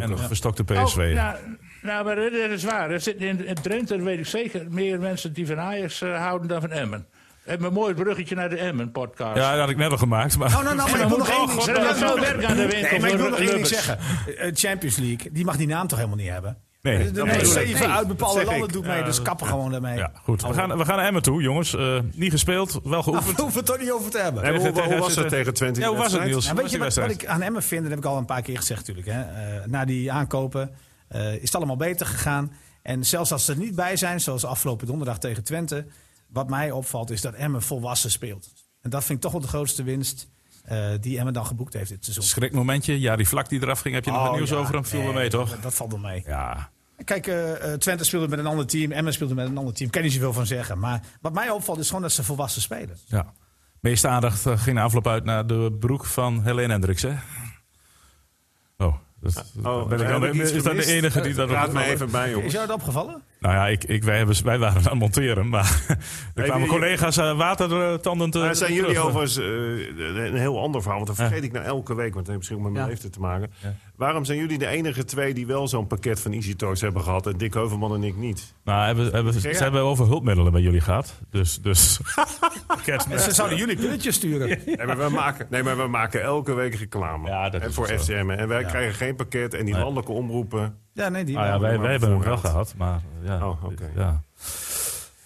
En nog eh, verstokte Oh, PSV. nou, nou, maar dat is waar. Er zitten in, in Drenthe, weet ik zeker, meer mensen die van Ajax eh, houden dan van Emmen. En een mooi bruggetje naar de Emmen-podcast. Ja, dat had ik net al gemaakt. Maar... Oh, nou, nou, maar ik wil nog één ding God, zeggen. dat is wel Ja, werk aan de winkel Nee, maar ik wil nog voor één ding Lubbers. zeggen. Eh, Champions League, die mag die naam toch helemaal niet hebben? Nee, De nummer nee. zeven Nee, uit dat bepaalde zeg landen ik. doet mee, dus kappen gewoon daarmee. Ja, goed. We gaan, we gaan naar Emmen toe, jongens. Eh, niet gespeeld, wel Nou, we geoefend. hoeven het toch niet over te hebben. Nee, hoe- Tegen- hoe tegen was FC dat tegen Twente, Ja, hoe die was het, wedstrijd? Niels? Ja, Hoe was weet die je wat, wat wedstrijd? ik aan Emmen vind, dat heb ik al een paar keer gezegd natuurlijk. Hè. Eh, na die aankopen eh, is het allemaal beter gegaan. En zelfs als ze er niet bij zijn, zoals afgelopen donderdag tegen Twente... wat mij opvalt is dat Emmen volwassen speelt. En dat vind ik toch wel de grootste winst eh, die Emmen dan geboekt heeft dit seizoen. Schrikmomentje. Ja, die vlak die eraf ging, heb je nog het Oh, nieuws ja, over hem? Viel nee, wel mee, toch? Dat, dat valt wel mee. Ja. Kijk, eh, eh, Twente speelde met een ander team. Emmen speelde met een ander team. Ik kan niet zoveel van zeggen. Maar wat mij opvalt is gewoon dat ze volwassen spelen. ja. Meeste aandacht eh, ging de afloop uit naar de broek van Helene Hendricks, hè? Oh, dat, Oh, ben ik heb dan- ik iets is dat de gemist? enige die dat... Raad me even bij, Is jongens. jou dat opgevallen? Nou ja, ik, ik, wij, hebben, wij waren aan het monteren, maar er kwamen jullie- collega's eh, watertanden te Maar zijn terug. jullie overigens eh, een heel ander verhaal? Want dat vergeet ik nou elke week, want het heeft misschien ook met mijn Ja. leeftijd te maken. Waarom zijn jullie de enige twee die wel zo'n pakket van Easy Toys hebben gehad en Dick Heuvelman en ik niet? Nou, hebben, hebben, ze Ja. hebben over hulpmiddelen bij jullie gehad. Dus, dus... Kerst- Ze zouden jullie pilletjes sturen. Nee, maar we maken, nee, maar we maken elke week reclame Ja, dat en is voor wel zo. FCM. En wij krijgen geen pakket en die landelijke omroepen. Ja, nee, die Ah ja, wel. wij, wij hebben hem wel voorraad. gehad, maar eh, ja. Oh, oké. ja.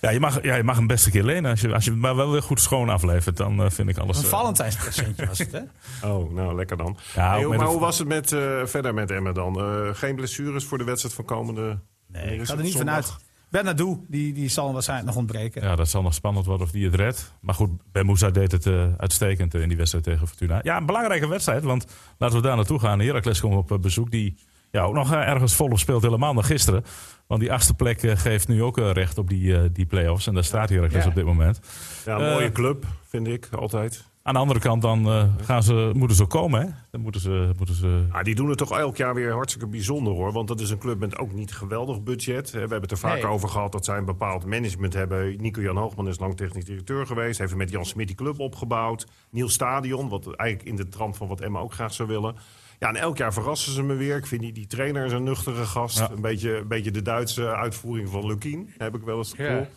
Ja, je mag, ja, je mag hem best een keer lenen. Als je, als je hem maar wel weer goed schoon aflevert, dan eh, vind ik alles... Een eh, Valentijnspresentje was het, hè? Oh, nou lekker dan. Ja, Hey, ook met maar een- hoe was het met, eh, verder met Emmen dan? Eh, geen blessures voor de wedstrijd van komende. Nee, ik is ga er het niet zondag? vanuit. Bernardo, die, die zal waarschijnlijk nog ontbreken. Ja, dat zal nog spannend worden of die het redt. Maar goed, Ben Moussa deed het eh, uitstekend eh, in die wedstrijd tegen Fortuna. Ja, een belangrijke wedstrijd, want laten we daar naartoe gaan. Heracles komt op eh, bezoek, die ja, ook nog eh, ergens volop speelt, helemaal dan gisteren. Want die achtste plek eh, geeft nu ook eh, recht op die, eh, die play-offs. En daar staat Heracles Ja. op dit moment. Ja, Eh, mooie club, vind ik altijd. Aan de andere kant, dan eh, gaan ze, moeten ze ook komen, hè? Dan moeten ze... Moeten ze Ah, die doen het toch elk jaar weer hartstikke bijzonder hoor. Want dat is een club met ook niet geweldig budget. Eh, We hebben het er vaak Nee. over gehad dat zij een bepaald management hebben. Nico-Jan Hoogman is lang technisch directeur geweest. Heeft met Jan Smit die club opgebouwd. Nieuw stadion, wat eigenlijk in de trant van wat Emma ook graag zou willen. Ja, en elk jaar verrassen ze me weer. Ik vind die, die trainer is een nuchtere gast. Ja. Een, beetje, een beetje de Duitse uitvoering van Lukien, heb ik wel eens het gevoel. Ja.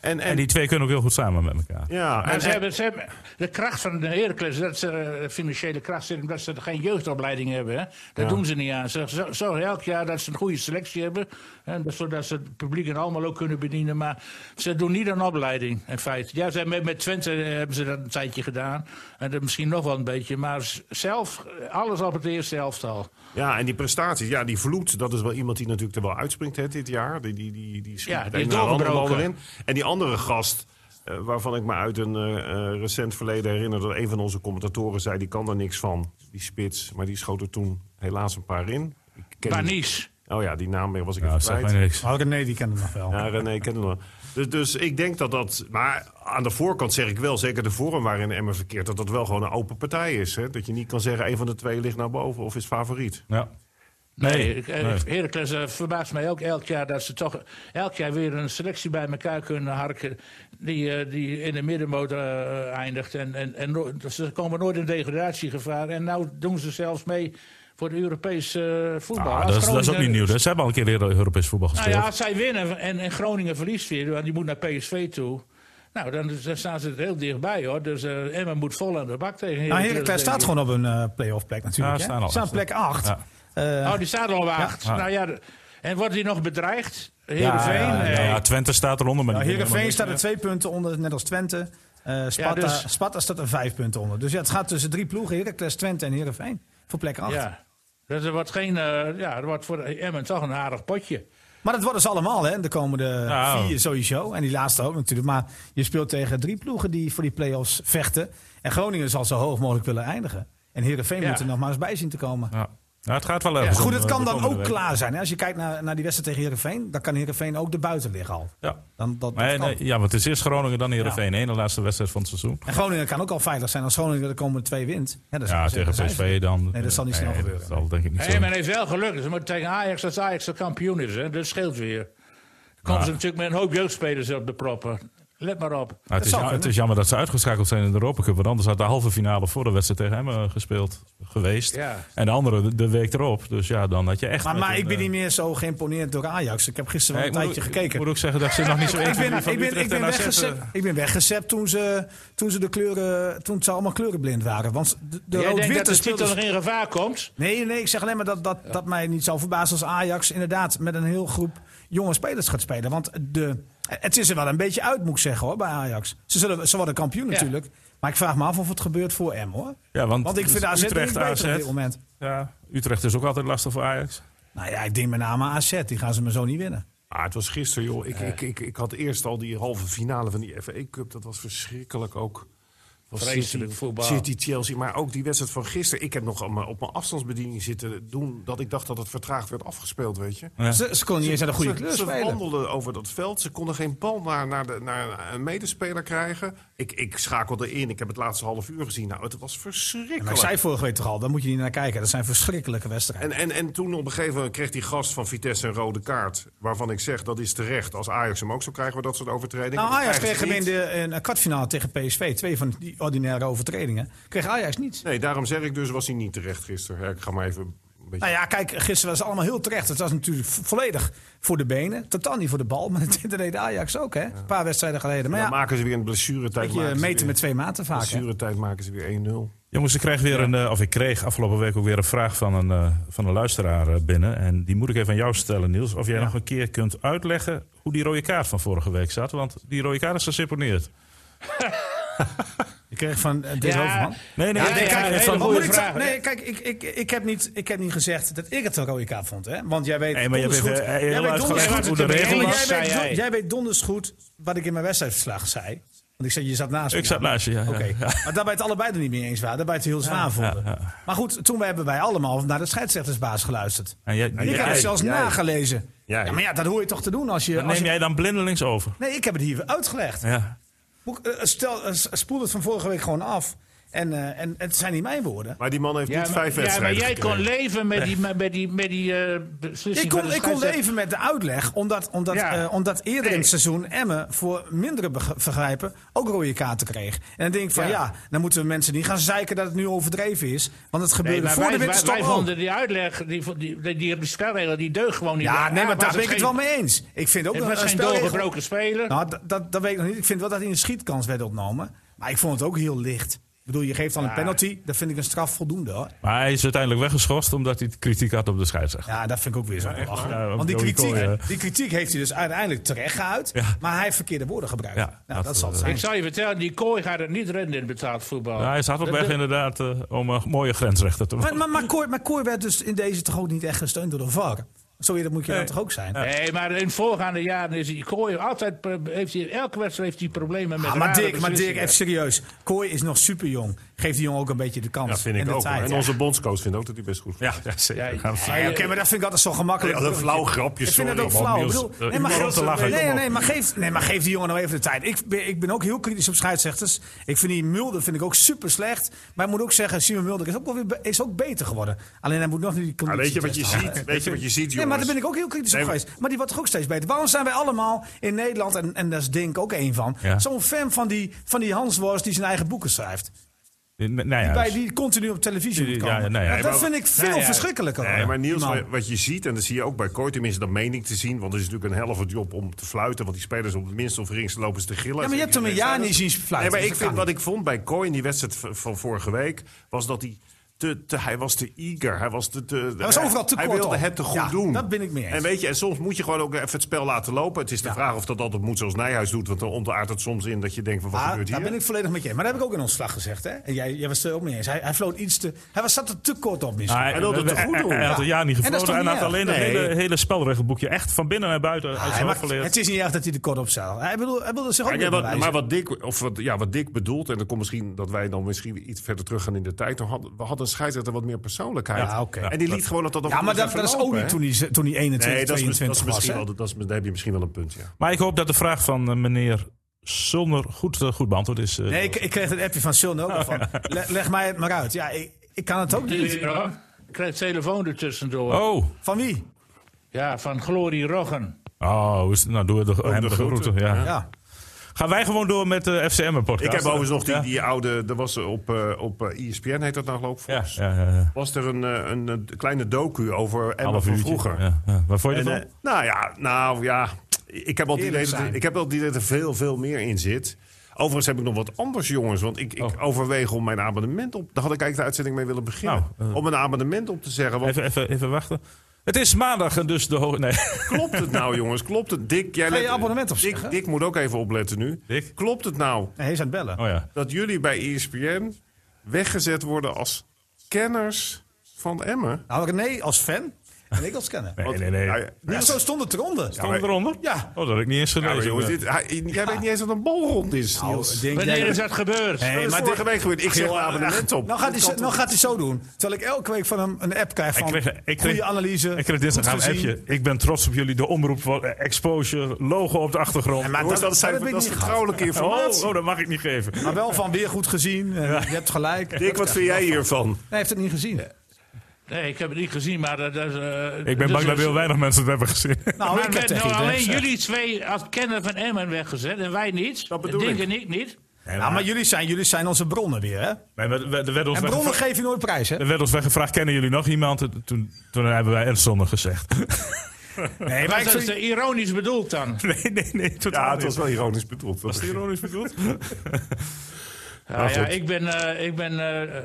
En, en, en die twee kunnen ook heel goed samen met elkaar. ja, Maar en, ze hebben, ze hebben- de kracht van de Heracles, dat ze eh, de financiële kracht zit, omdat ze geen jeugdopleiding hebben. Hè. Dat doen ze niet aan. Ze zo- zorgen elk jaar dat ze een goede selectie hebben. Hè, dat- zodat ze het publiek en allemaal ook kunnen bedienen. Maar ze doen niet aan opleiding, in feite. Ja, ze hebben, met Twente eh, hebben ze dat een tijdje gedaan. En dat misschien nog wel een beetje. Maar z- zelf, eh, alles op het eerste elftal. ja, en die prestaties, ja, die vloed, dat is wel iemand die natuurlijk er wel uitspringt hè, dit jaar. Die, die, die, die schiet Ja, het die een is na het ander doorgebroken. bal erin. En die andere gast, eh, waarvan ik me uit een eh, eh, recent verleden herinner... dat een van onze commentatoren zei, die kan er niks van, die spits. Maar die schoot er toen helaas een paar in. Ik ken die- Banis. Oh ja, die naam was ik Nou, even zeg kwijt. mij niks. Maar ook nee, Oh, die kennen het nog wel. Ja, René Kendler. Dus, dus ik denk dat dat... Maar aan de voorkant zeg ik wel, zeker de vorm waarin Emmen verkeert... dat dat wel gewoon een open partij is. Hè? Dat je niet kan zeggen, een van de twee ligt naar boven of is favoriet. Ja. Nee, ik- eh, nee. Heracles eh, verbaast mij ook elk jaar dat ze toch elk jaar weer een selectie bij elkaar kunnen harken. Die, eh, die in de middenmoot eh, eindigt. En, en, en no- ze komen nooit in degradatiegevaar. En nou doen ze zelfs mee voor de Europese eh, voetbal. Ah, Als dat, is, dat is ook Groningen- niet nieuw. Dus. Ze hebben al een keer eerder Europees voetbal Nou gespeeld. ja, als zij winnen en, en Groningen verliest weer, want die moet naar PSV toe. Nou, dan, dan staan ze er heel dichtbij hoor. Dus eh Emma moet vol aan de bak tegen Nou, Heracles. Heracles staat denk ik. gewoon op een eh play-off plek natuurlijk. Ja, hè? staan al. Ze staan op plek Eh, 8. Ja. Oh, die staat al op acht. Ja. Nou ja, de- en wordt die nog bedreigd? Heerenveen? ja, Ja, Nee. ja, Twente staat eronder. Maar die winnen eh, Nou, Heerenveen staat helemaal er twee punten onder, net als Twente. Eh Sparta, Ja, dus- Sparta staat er vijf punten onder. Dus ja, het gaat tussen drie ploegen, Heracles, Twente en Heerenveen. Voor plek 8. Ja. Dus er wordt geen, eh, ja, er wordt voor Emmen toch een aardig potje. Maar dat worden ze allemaal, hè? De komende Nou. vier sowieso. En die laatste ook natuurlijk. Maar je speelt tegen drie ploegen die voor die play-offs vechten. En Groningen zal zo hoog mogelijk willen eindigen. En Heerenveen Ja. moet er nog maar eens bij zien te komen. niks. Ja. Nou, het gaat wel ergens Maar goed, om, het eh, kan de dan komende ook week. klaar zijn. Hè? Als je kijkt naar, naar die wedstrijd tegen Heerenveen, dan kan Heerenveen ook de buiten liggen al. Ja. Dan, dat, dat Maar, kan. nee, ja, want het is eerst Groningen, dan Heerenveen. één, de laatste wedstrijd van het seizoen. En Groningen kan ook al veilig zijn als Groningen de komende twee wint. Ja, dat is- Ja, dat is- tegen dat is- PSV dan. Nee, dat zal niet snel gebeuren. Dat zal denk ik niet Hey, zo. men heeft wel geluk. Ze moeten tegen Ajax als Ajax de kampioen is. Hè? Dat scheelt weer. Komen Maar- ze natuurlijk met een hoop jeugdspelers op de proppen. Let maar op. Nou, het, is zou ja- het kunnen. is jammer dat ze uitgeschakeld zijn in de Europa Cup. Want anders had de halve finale voor de wedstrijd tegen hem eh, gespeeld geweest. Ja. En de andere de, de week erop. Dus ja, dan had je echt... Maar, met maar een, ik ben eh, niet meer zo geïmponeerd door Ajax. Ik heb gisteren nee, eh, wel ik een moet tijdje ook- gekeken. Ik moet ook zeggen dat ik zit nog niet zo Ik 1 ben, van ik ben, Utrecht ik ben, en AZ, eh, weggezet, ik ben weggezept toen ze, toen ze de kleuren, toen ze allemaal kleurenblind waren. Want de, de Jij denkt dat rood-witte de titel nog speelde... in gevaar komt? Nee, nee, ik zeg alleen maar dat, dat, dat mij niet zou verbazen als Ajax inderdaad met een heel groep jonge spelers gaat spelen. Want de, het is er wel een beetje uit, moet ik zeggen hoor, bij Ajax. Ze, zullen, ze worden kampioen natuurlijk. Maar ik vraag me af of het gebeurt voor M hoor. Ja, want, Want ik vind AZ niet Utrecht, beter AZ. op dit moment. Ja, Utrecht is ook altijd lastig voor Ajax. Nou ja, ik denk met name AZ. Die gaan ze me zo niet winnen. Ah, het was gisteren, joh. Eh. Ik, ik, ik, ik had eerst al die halve finale van die FA Cup. Dat was verschrikkelijk ook. Was Vreselijk City- voetbal. City, Chelsea. Maar ook die wedstrijd van gisteren. Ik heb nog aan mijn- op mijn afstandsbediening zitten doen... dat ik dacht dat het vertraagd werd afgespeeld, weet je. Ja. Ze, ze konden niet eens aan de goede ze, kleur Ze spelen. wandelden over dat veld. Ze konden geen bal naar, naar, de, naar een medespeler krijgen. Ik, ik schakelde in. Ik heb het laatste half uur gezien. Nou, het was verschrikkelijk. Maar ik zei vorige week toch al, daar moet je niet naar kijken. Dat zijn verschrikkelijke wedstrijden. En, en, en toen op een gegeven moment kreeg die gast van Vitesse een rode kaart. Waarvan ik zeg, dat is terecht. Als Ajax hem ook zou krijgen, we dat soort overtredingen. nou, Dat Ajax kreeg krijgen hem ze in niet. de in de kwartfinale tegen PSV. Twee van die ordinaire overtredingen. Kreeg Ajax niets. Nee, daarom zeg ik dus, was hij niet terecht gisteren. Ja, Ik ga maar even een beetje... Nou ja, kijk, gisteren was het allemaal heel terecht. Het was natuurlijk vo- volledig voor de benen. Totaal niet voor de bal. Maar dat deed Ajax ook, hè? Een paar wedstrijden geleden. Maar dan ja, maken ze weer een blessuretijd. weet je maken ze meten weer- met twee maten vaak. hè. blessuretijd maken ze weer 1-0. Jongens, ik kreeg weer een, eh, of ik kreeg afgelopen week ook weer een vraag van een, eh, van een luisteraar eh, binnen. En die moet ik even aan jou stellen, Niels. Of jij nog een keer kunt uitleggen hoe die rode kaart van vorige week zat. Want die rode kaart is geseponeerd. Ik kreeg van eh, Dries Ja, Overman. Nee, nee, Ja, ik- nee, ik- ja, ik- hele van- goede Oh, moet ik vraag. dat- nee, kijk, ik, ik, ik, heb niet, ik heb niet gezegd dat ik het een rode kaart vond. Hè? Want jij weet Nee, maar je hebt donders even, goed- eh, heel jij weet uitgelegd donders goed hoe de wat er regel gebeurt. was, Jij weet zei don- jij. Jij weet donders goed wat ik in mijn wedstrijdverslag zei. Want ik zei, je zat naast me. Ik zat naast je, ja, ja. Oké, Ja. maar daarbij het allebei er niet mee eens waren. Daarbij het heel zwaar vonden. Maar goed, toen hebben wij allemaal naar de scheidsrechtersbaas geluisterd. En jij- ik heb jij- het zelfs jij- nagelezen. jij. Ja, maar ja, dat hoor je toch te doen als je... Dan Als neem je jij dan blindelings over. nee, ik heb het hier uitgelegd. Ja. Hoe- eh, Stel, eh, spoel het van vorige week gewoon af. En, eh, en het zijn niet mijn woorden. Maar die man heeft niet maar- vijf ja, maar wedstrijden jij kon gekregen. leven met die, met die, met die eh, beslissing. Ik van kon, de ik kon scheidsrechter. leven met de uitleg, omdat, omdat, Ja. eh, omdat eerder in Nee. het seizoen Emmen voor mindere beg- vergrijpen ook rode kaarten kreeg. En dan denk ik van ja. Ja. dan moeten we mensen niet gaan zeiken dat het nu overdreven is. Want het Nee, gebeurde maar voor wij, de Oh. wij, winterstop wij ook. vonden die uitleg, die, die, die, die spelregel, die deugt gewoon niet. Ja, nee, maar daar ben ik het wel mee. mee eens. Ik vind ook Het dat was een geen spelregel- doorgebroken speler. Nou, dat, dat, dat weet ik nog niet. Ik vind wel dat hij een schietkans werd ontnomen. Maar ik vond het ook heel licht. Ik bedoel, je geeft dan een penalty. Dat vind ik een straf voldoende hoor. Maar hij is uiteindelijk weggeschorst omdat hij kritiek had op de scheidsrechter. Ja, dat vind ik ook weer zo. belachelijk. waar? Ja, Want die Joey Coy, kritiek, hè? die kritiek heeft hij dus uiteindelijk terecht geuit. Ja. Maar hij heeft verkeerde woorden gebruikt. Ja, nou, dat- dat, zal het eh, zijn. Ik zal je vertellen, die kooi gaat het niet redden in betaald voetbal. Ja, hij is hard op Dat- weg inderdaad eh, om een mooie grensrechter te Maar, worden. maar, maar, Kooi, maar Kooi werd dus in deze toch ook niet echt gesteund door de VAR. Zo eerder moet je Nee. dat toch ook zijn? Nee, maar in voorgaande jaren is die kooi altijd. pro- Heeft hij, elke wedstrijd heeft hij problemen met. Ah, maar rare Dirk, maar Dirk, beslissingen. even serieus. Kooi is nog super jong. Geef die jongen ook een beetje de kans. Dat vind en ik de ook. hoor. tijd. En onze bondscoach vindt ook dat hij best goed Ja, ja, zeker. Ja, Gaan we- Ja, Oké, maar dat vind ik altijd zo gemakkelijk. Ja, dat flauw grapje, grapjes. Ik vind sorry, dat ook man, flauw. Ik Niels. bedoel, Eh, nee, humor maar om geef- te lachen. nee, nee, maar geef, nee, maar geef die jongen nou even de tijd. Ik ben, ik ben ook heel kritisch op scheidsrechters. Ik vind die Mulder vind ik ook super slecht. Maar ik moet ook zeggen, Simon Mulder is ook, wel weer, be- is ook beter geworden. Alleen hij moet nog niet die Maar conditie weet je wat je testen. ziet? Weet je wat je ziet, jongens? Nee, maar daar ben ik ook heel kritisch Nee, op maar- geweest. Maar die wordt toch ook steeds beter. Waarom zijn wij allemaal in Nederland, en, en daar is Dink ook één van, Ja. zo'n fan van die, van die Hans Worst die zijn eigen boeken schrijft? Nee, nou ja, Bij die continu op televisie Die- moet ja, komen. nou ja, Nou, dat maar- vind ik veel nou ja. verschrikkelijker. Nee, maar Niels, Die man. wa- wat je ziet, en dat zie je ook bij Kooi, tenminste dat meen ik te zien. Want het is natuurlijk een helft job om te fluiten. Want die spelers op het minst of geringst lopen ze te gillen. Ja, maar je hebt hem een jaar niet zien fluiten, Nee, maar dus ik dat vind, kan wat ik vond bij Kooi in die wedstrijd v- van vorige week... was dat hij... Te, te, hij was te eager. Hij was, te, te, hij was overal te Hij kort wilde op. het te goed Ja, doen. dat ben ik mee eens. En weet je, en soms moet je gewoon ook even het spel laten lopen. Het is de vraag of dat altijd moet zoals Nijhuis doet. Want dan ontaart het soms in dat je denkt van wat Ah, gebeurt hier? daar ben ik volledig met je. Maar dat heb ik ook in ons slag gezegd. Hè? En jij, jij was het er ook mee eens. Hij, hij floot iets te. Hij was, zat er te kort op misschien. Hij, Ah, Hij wilde het hij- goed doen. Hij, hij had een Ja. jaar niet En dat is gefloten. toch En niet had erg? alleen het Nee. hele, hele spelregelboekje echt van binnen naar buiten uit Ah, Hij zijn hoofd maakt- geleerd. het is niet erg dat hij er kort op zat. Hij, bedoel, hij wilde zich ook Maar, ja, niet wat, bewijzen. maar wat Dick, of wat, ja, wat Dick bedoelt, en dan komt misschien dat wij dan misschien iets verder terug gaan in de tijd. Dan had, we hadden een scheidsrechter wat meer persoonlijkheid. Ja, oké. En die liet gewoon dat dat ja, maar dat, dat is ook niet toen hij, ze- toen hij 21, Nee, dat is, mis- dat is 22 was. misschien hè? wel, dat is, daar heb je misschien wel een punt. Ja. Maar ik hoop dat de vraag van eh, meneer Zonder goed, eh, goed beantwoord is. eh, Nee, ik, ik kreeg een appje van Silne ook al van. Le- leg mij het maar uit. Ja, ik, ik kan het ook niet. Ja, Ik krijg telefoon ertussendoor. Oh, Van wie? Ja, van Glory Roggen. oké. Oh, is- nou doen we de, hem de, groeten, groeten, Ja. Ja. Gaan wij gewoon door met eh, de Ik FCM-podcast? heb overigens nog die, Ja. die oude, er was op, eh op eh, ESPN heet dat nou geloof ik Ja, volgens. ja, ja, ja. Was er een, eh, een, eh, kleine docu over Emma Half van uurtje. vroeger. Ja, ja. Waar vond je En, dat eh, nou ja, nou ja, ik heb al die Eerlijk idee dat, zijn. er- ik heb wel die idee dat er veel, veel meer in zit. Overigens heb ik nog wat anders, jongens. Want ik, ik Oh. overweeg om mijn abonnement op... Daar had ik eigenlijk de uitzending mee willen beginnen. Nou, eh. om een abonnement op te zeggen. Want Even, even, even wachten. Het is maandag en dus de hoogte. Nee. klopt het nou, jongens? Klopt het? Dick, jij Ga je let- abonnement opzeggen? Dick, Dick moet ook even opletten nu. Dick? Klopt het nou Nee, hij is aan het bellen. Oh ja. dat jullie bij E ESPN weggezet worden als kenners van Emmen? Nou, René als fan en ik als kenner. Nee, Want- nee, nee. Nou Stond ja, niet- Ja, zo stond het eronder. Ja, maar- eronder? Ja. Nou, eh, Oh, dat heb ik niet eens Ja, gelezen. maar jongens, dit, hij- jij weet niet eens wat een bal rond is. Niels. ik denk Wanneer jij- is dat gebeurd? Dat is maar vorige dit- week gebeurd. Ik zeg Joh, mijn abonnement op. Nou gaat, hij, Dat zo- kan nou toch- gaat hij zo doen. Terwijl ik elke week van hem een app krijg van ik kreeg, ik kreeg, goede analyse. Ik kreeg dinsdag goed een gezien. appje. Ik ben trots op jullie. De omroep, voor- eh, exposure, logo op de achtergrond. En maar Jongens, dat, dat, zijn, heb ik dat is niet gehad. vertrouwelijke informatie. oh, oh, dat mag ik niet geven. Maar wel van weer goed gezien. En Je hebt gelijk. Dick, wat vind jij hiervan? Hij heeft het niet gezien. Nee, ik heb het niet gezien, maar dat dat is... eh, Ik ben dus bang dat is- heel weinig mensen het hebben gezien. Nou, maar ik heb werd tegen nou iedereen alleen gezegd. jullie twee als kenner van Emmen weggezet en wij niet. Dat bedoel Dick ik. en ik niet. Nou, maar jullie zijn, jullie zijn onze bronnen weer, hè? Maar we- we- er werd ons En bronnen weggevra- geef je nooit prijs, hè? er werd ons weggevraagd, kennen jullie nog iemand? En Toen, toen hebben wij Enstonner gezegd. Nee, maar Maar ik dat is vind- eh, ironisch bedoeld dan. Nee, nee, nee. Totaal Ja, het niet. was wel ironisch bedoeld. Was het ironisch bedoeld? Nou ja, goed. ik ben, eh, ik ben eh,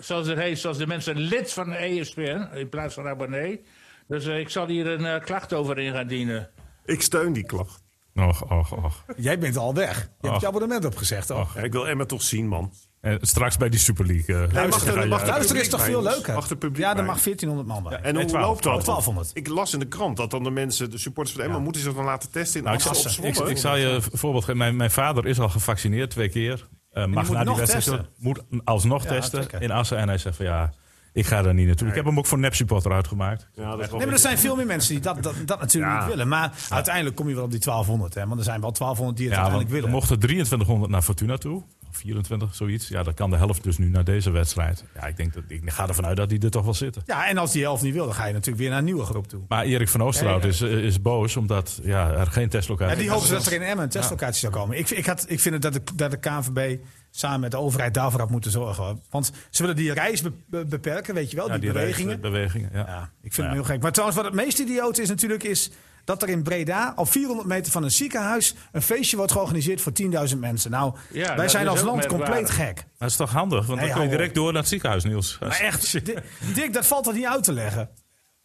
zoals het heet, zoals de mensen, lid van de E ESPN in plaats van abonnee. Dus eh, ik zal hier een eh, klacht over in gaan dienen. Ik steun die klacht. Och, och, och. jij bent al weg. Je Och. hebt je abonnement opgezegd, toch? Ja, ik wil Emma toch zien, man. En straks bij die Super League. eh, mag er- ga je mag uit. er- Luister is publiek toch bij veel ons. leuker? Mag er publiek ja, er bij? mag 1400 man bij. En hoe 12. loopt dat? 1200. Ik las in de krant dat dan de mensen, de supporters van Emma, moeten zich dan laten testen in Nou, ik, Assen zal, op ik, Zwolle. ik zal je een voorbeeld geven. Mijn, mijn vader is al gevaccineerd twee keer. Eh, mag moet na die nog wedstrijd testen. moet alsnog Ja, testen trekken. in Assen. En hij zegt van ja, ik ga daar niet naartoe. Ik heb hem ook voor nep supporter uitgemaakt. Ja, dat is wel Nee, maar er zijn veel meer mensen die dat, dat, dat natuurlijk Ja. niet willen. Maar uiteindelijk kom je wel op die 1200, hè? Want er zijn wel 1200 die het Ja, want uiteindelijk er willen. mochten 2300 naar Fortuna toe. Of 24, zoiets. Ja, dan kan de helft dus nu naar deze wedstrijd. Ja, ik, denk dat, ik ga ervan uit dat die er toch wel zitten. Ja, en als die helft niet wil, dan ga je natuurlijk weer naar een nieuwe groep toe. Maar Erik van Oosterhout is, eh, is boos omdat ja, er geen testlocatie Ja, die hopen dat er in Emmen een testlocatie zou komen. Ik, ik, had, ik vind het dat de, dat de KNVB samen met de overheid daarvoor had moeten zorgen. hoor. Want ze willen die reis be- be- beperken, weet je wel, Ja, die, reis- bewegingen. bewegingen ja. ja, ik vind Nou ja. het heel gek. Maar trouwens, wat het meest idioot is natuurlijk, is dat er in Breda, op 400 meter van een ziekenhuis, een feestje wordt georganiseerd voor 10.000 mensen. Nou, Ja, wij dat zijn is als ook land compleet merkwaardig. gek. Dat is toch handig? Want Nee, dan kun je hou op. direct door naar het ziekenhuis, Niels. Maar echt, Di- Dick, dat valt er niet uit te leggen.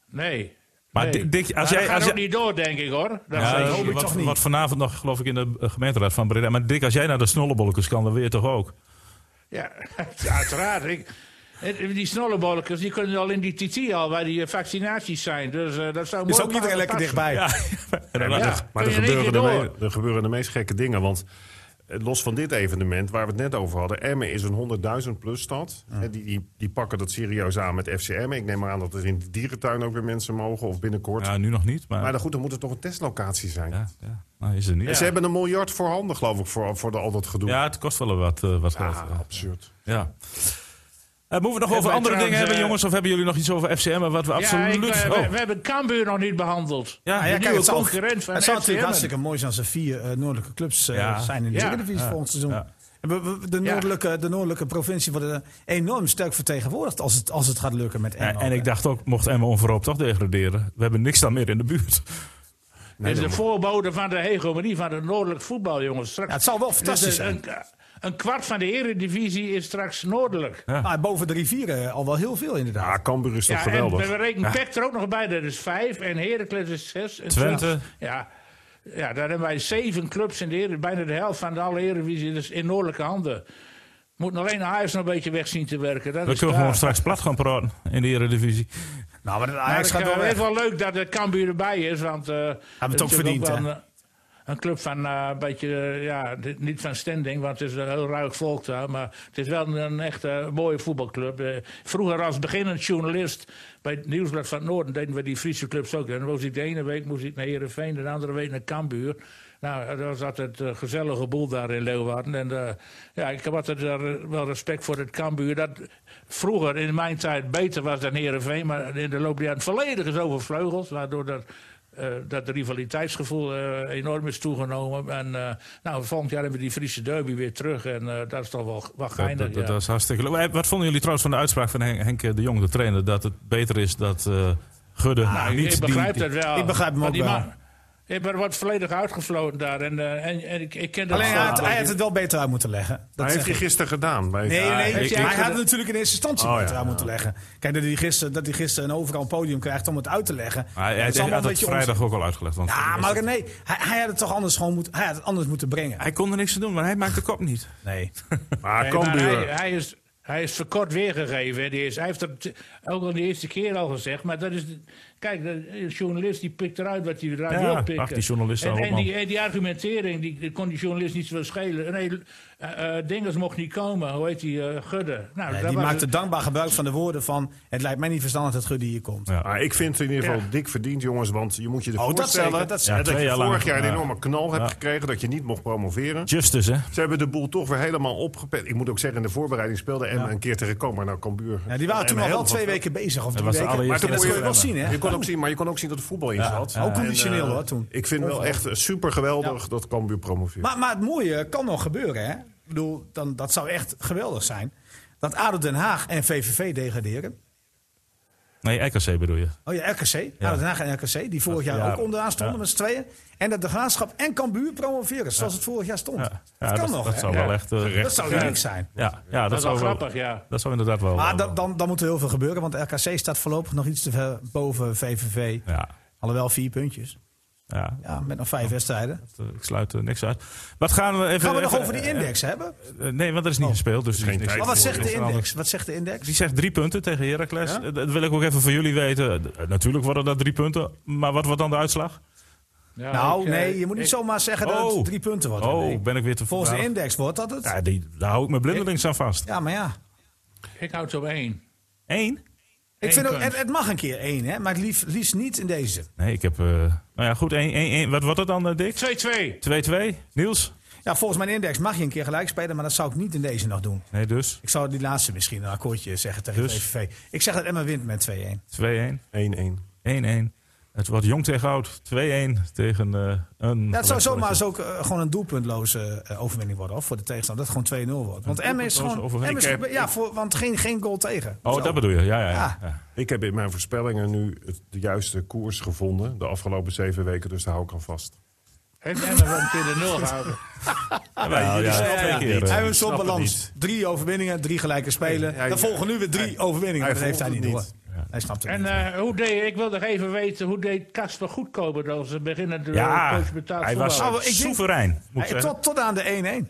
Nee. Maar nee. Dick- Dick, als Maar jij- dat gaat als ook jij- niet door, denk ik hoor. Dat Ja, is- dat hoop ik wat, toch niet. wat vanavond nog, geloof ik, in de eh, gemeenteraad van Breda. Maar Dick, als jij naar de snollebolletjes kan, dan weer toch ook? Ja, ja, uiteraard. Ik, en die snollebolletjes die kunnen al in die TT al, waar die eh, vaccinaties zijn. Dus eh, dat zou mooi Is ook iedereen passen. lekker dichtbij. En dan- Ja. ja. Kun Maar er je in één gebeuren, de keer me- er gebeuren de meest gekke dingen. Want eh, los van dit evenement, waar we het net over hadden... Emmen is een 100.000 plus stad. Eh, Die, die, die pakken dat serieus aan met FC Emmen. Ik neem maar aan dat er in de dierentuin ook weer mensen mogen. Of binnenkort. nu nog niet, maar... Maar dan goed, dan moet het toch een testlocatie zijn. ja, ja. Nou, is er niet. En Ja. ze hebben een miljard voorhanden, geloof ik, voor, voor de, al dat gedoe. het kost wel wat, eh, wat geld. Ah, ja. absurd. Ja. Eh, moeten we het nog over wij andere dingen trouwens, hebben, eh, jongens? Of hebben jullie nog iets over FCM? Wat we Ja, ik, absoluut... eh, oh. we, we hebben Cambuur nog niet behandeld. Ja, De ja, kijk, nieuwe het zou- concurrent van Het zou natuurlijk FCM. hartstikke mooi zijn als er vier eh, noordelijke clubs eh, Ja. zijn in de Ja. Eredivisie volgend seizoen. Ja. En we- we- De Ja. noordelijke, de noordelijke provincie wordt eh, enorm sterk vertegenwoordigd als het, als het gaat lukken met Ja, Emmen. en ik dacht ook, mocht Emma onverhoopt toch degraderen... we hebben niks dan meer in de buurt. Dit is de voorbode van de hegemonie van het noordelijk voetbal, jongens. Straks, Ja, het zou wel fantastisch Dus, eh, zijn. Een, een kwart van de eredivisie is straks noordelijk. Ja, Maar boven de rivieren eh, al wel heel veel inderdaad. Ja, Cambuur is toch en geweldig. we rekenen Peck er ook nog bij, dat is vijf. En Heracles is zes. En Twente. zelfs- Ja, ja, daar hebben wij zeven clubs in de eredivisie. Bijna de helft van de alle eredivisie is in noordelijke handen. Moet alleen Ajax nog een beetje weg zien te werken. Dat We kunnen is klaar. gewoon straks plat gaan praten in de Eredivisie. Nou, maar dat Maar Ajax ik, gaat eh, wel het weg. is wel leuk dat de Cambuur erbij is, want... eh Hebben het ook verdiend, hè? een club van eh, een beetje, eh, ja, dit- niet van standing, want het is een heel ruik volk daar. Maar het is wel een, een echt eh, mooie voetbalclub. Eh, vroeger als beginnend journalist bij het Nieuwsblad van het Noorden deden we die Friese clubs ook. En dan moest ik de ene week moest ik naar Heerenveen, de andere week naar Cambuur. Nou, dat was altijd een gezellige boel daar in Leeuwarden. En eh, ja, ik heb altijd eh, wel respect voor het Cambuur. Dat vroeger in mijn tijd beter was dan Heerenveen. Maar in de loop der jaren volledig is overvleugeld. Waardoor dat eh, dat de rivaliteitsgevoel eh, enorm is toegenomen. En eh, nou, volgend jaar hebben we die Friese derby weer terug. En eh, dat is toch wel, wel Dat, geinig. dat, dat ja. is hartstikke leuk. Maar Wat vonden jullie trouwens van de uitspraak van Hen- Henk eh, de Jong, de trainer, dat het beter is dat eh Gudde Ah, Nou, niet ik begrijp die, dat wel. ik begrijp hem Want ook die wel. man- Ja, maar er wordt volledig uitgefloten daar. En, eh, en, en ik, ik ken dat Alleen hij had, wel. hij had het wel beter uit moeten leggen. Dat heeft zeg hij ik. gisteren gedaan. Bij Nee, nee, heeft hij hij eigenlijk- had het natuurlijk in eerste instantie Oh, beter ja, uit ja. moeten leggen. Kijk, dat hij gisteren, dat hij gisteren een overal podium krijgt om het uit te leggen. Hij, hij Het had is allemaal het een beetje vrijdag ook al uitgelegd. Want onzin. Ja, maar nee, hij, hij had het toch anders gewoon moeten, hij had het anders moeten brengen. Hij kon er niks aan doen, maar hij maakt de kop niet. Ah, Nee. Maar Nee, maar hij, Cambuur. hij is, hij is verkort weergegeven. hè. Die is, hij heeft het ook al de eerste keer al gezegd. Maar dat is. Kijk, de een journalist die pikt eruit wat hij eruit Ja, wil pikken. ach, die journalist en, ook, en, man. die, en die argumentering, die, die kon die journalist niet zoveel schelen. Nee, eh, eh, Dingers mocht niet komen. Hoe heet die? eh, Gudde. Nou, Nee, dat die was maakte het. dankbaar gebruik van de woorden van... het lijkt mij niet verstandig dat Gudde hier komt. Ja. Maar Ah, ik vind het in ieder geval Ja. dik verdiend, jongens. Want je moet je ervoor Oh, dat stellen zeker, dat zeker. dat twee je jaar lang, vorig jaar een ja. enorme knal hebt Ja. gekregen. Dat je niet mocht promoveren. Justice, hè? Ze hebben de boel toch weer helemaal opgepet. Ik moet ook zeggen, in de voorbereiding speelde Emma een keer tegen Cambuur. Nou, Cambuur. Ja, die waren en toen Emma al wel heel twee veel- weken bezig. Of drie was de weken. Maar allereerste toen dat kon kon je je wel zien, hè? Je kon ook zien, maar je kon ook zien dat er voetbal in zat. Ook En, conditioneel, eh, hoor, toen. Ik vind wel echt super geweldig dat Cambuur promoveert. Maar, maar het mooie eh, kan nog gebeuren, hè? Ik bedoel, dan, dat zou echt geweldig zijn. Dat ADO Den Haag en VVV degraderen. Nee, RKC bedoel je. Oh ja, RKC. ADO Den Haag en RKC, die vorig jaar ja, ook onderaan stonden ja. met z'n tweeën. En dat de Graafschap en Cambuur promoveren, zoals het vorig jaar stond. dat kan nog, Dat hè? zou wel echt... eh, Dat zou uniek zijn. ja, ja, dat, Dat is wel zou wel- grappig, ja. Dat zou inderdaad wel... eh, Maar dan, dan, dan moet er heel veel gebeuren, want RKC staat voorlopig nog iets te ver boven VVV. Ja, Alhoewel vier puntjes. ja Ja, met nog vijf wedstrijden. dat, eh, ik sluit er niks uit. Wat gaan we even... Gaan we nog even- over die Oh. index hebben? eh, Nee, want er is niet gespeeld, dus... er is Geen niks tijd Maar wat voor. zegt de index? Wat zegt de index? Die zegt drie punten tegen Heracles. Eh, Dat wil ik ook even van jullie weten. Eh, Natuurlijk worden dat drie punten, maar wat wordt dan de uitslag? Ja, Nou, ik, eh, nee, je moet niet ik- zomaar zeggen dat Oh. het drie punten wordt. Oh, Nee. ben ik weer te Volgens de voorbarig. index wordt dat het. Ja, die, daar hou ik mijn blindelings aan vast. Ja, maar ja. Ik houd het op één. Eén? Ik Eén vind ook, punt. het, het mag een keer één, hè? maar het liefst, liefst niet in deze. Nee, ik heb... eh, nou ja, goed. één, één, één. Wat wordt het dan, eh, Dick? 2-2. 2-2? Niels? Ja, volgens mijn index mag je een keer gelijk spelen, maar dat zou ik niet in deze nog doen. Nee, dus. 2-1. Ik zou die laatste misschien een akkoordje zeggen tegen Dus? VVV. Ik zeg dat Emma wint met 2-1. 1-1. 1-1. Het wordt jong tegen oud. 2-1 tegen eh, een... Ja, het zou zomaar eens zo. ook eh, gewoon een doelpuntloze eh, overwinning worden, of voor de tegenstander. Dat het gewoon 2-0 wordt. Want Emma is doelpuntloze gewoon... overwinning. Emma is, ja, voor, want geen, geen goal tegen. Oh, Zo. Ah. dat bedoel je. Ja, ja, ja. Ja. ja. Ik heb in mijn voorspellingen nu het, de juiste koers gevonden. De afgelopen zeven weken, dus daar hou ik aan vast. En en dan wordt het in de nul gehouden. Ah. Ja, ja, Ja, ja, twee dus ja. keer, eh. Hij heeft zo'n snappen balans. Drie overwinningen, drie gelijke spelen. hij- Dan volgen nu weer drie overwinningen. hij dat heeft hij volgt niet het door. niet. Hij snapt het En niet. eh, hoe deed, ik wil nog even weten, hoe deed Casper goedkoper dan ze beginnen de Ja, coach betaald hij was voetbal? Oh, ik denk- soeverein. Moet ik Hij- zeggen. tot, tot aan de 1-1.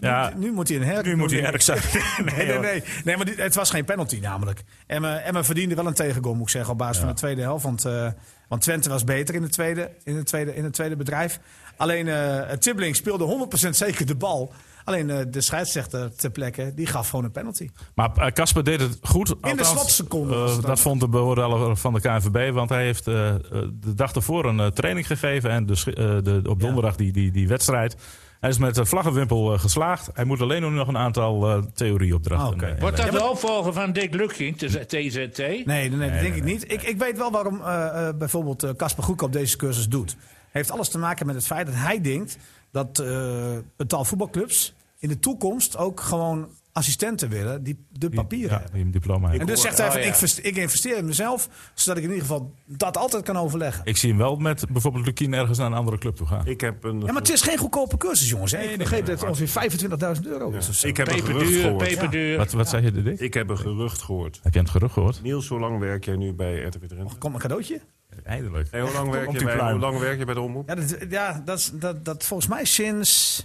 Ja, Nu moet hij een herk. nu moet hij erg zijn. Nee, nee, hoor. nee. nee maar dit- het was geen penalty namelijk. eh, Emma, Emma verdiende wel een tegengoal, moet ik zeggen, op basis van de tweede helft. Want, eh, want Twente was beter in het tweede, in het tweede, in het tweede bedrijf. Alleen eh Tibbling speelde 100% zeker de bal. Alleen eh, de scheidsrechter ter plekke, die gaf gewoon een penalty. Maar eh, Casper deed het goed. In slotseconden was het dan. dat vond de beoordeler van de KNVB. Want hij heeft eh, eh, de dag ervoor een eh, training gegeven. En de, schi- eh, de, op donderdag die, die, die wedstrijd. Hij is met de vlaggenwimpel eh, geslaagd. Hij moet alleen nog een aantal eh, theorieopdrachten. Ah, oké. eh, inleveren. Wordt dat de opvolger van Dick Lukking, de TZT? Nee, nee, nee, dat denk ik niet. Ik, ik weet wel waarom eh, eh, bijvoorbeeld eh, Casper Goedkoop deze cursus doet. Heeft alles te maken met het feit dat hij denkt dat eh betaalvoetbalclubs in de toekomst ook gewoon assistenten willen die de papieren Ja, hebben. die een diploma heeft. En Ik, dus zegt hij oh, van ja. ik, vers- ik investeer in mezelf, zodat ik in ieder geval dat altijd kan overleggen. zie hem wel met bijvoorbeeld Lukien ergens naar een andere club toe gaan. Ik heb een, Ja, maar het is geen goedkope cursus, jongens. hè. Ik begreep dat het ongeveer 25.000 euro is. Of zo. ik heb een gerucht Peperduur, gehoord. peperduur. wat wat zei je, Dick? Ik heb een gerucht gehoord. Heb je het gerucht gehoord? Niels, hoe lang werk jij nu bij RTV Drenthe? Komt een cadeautje? Eindelijk. Nee, hoe lang werk, Komt je die bij, pluim. hoe lang werk je bij de omroep? Ja, dat, ja dat, is- dat, dat volgens mij sinds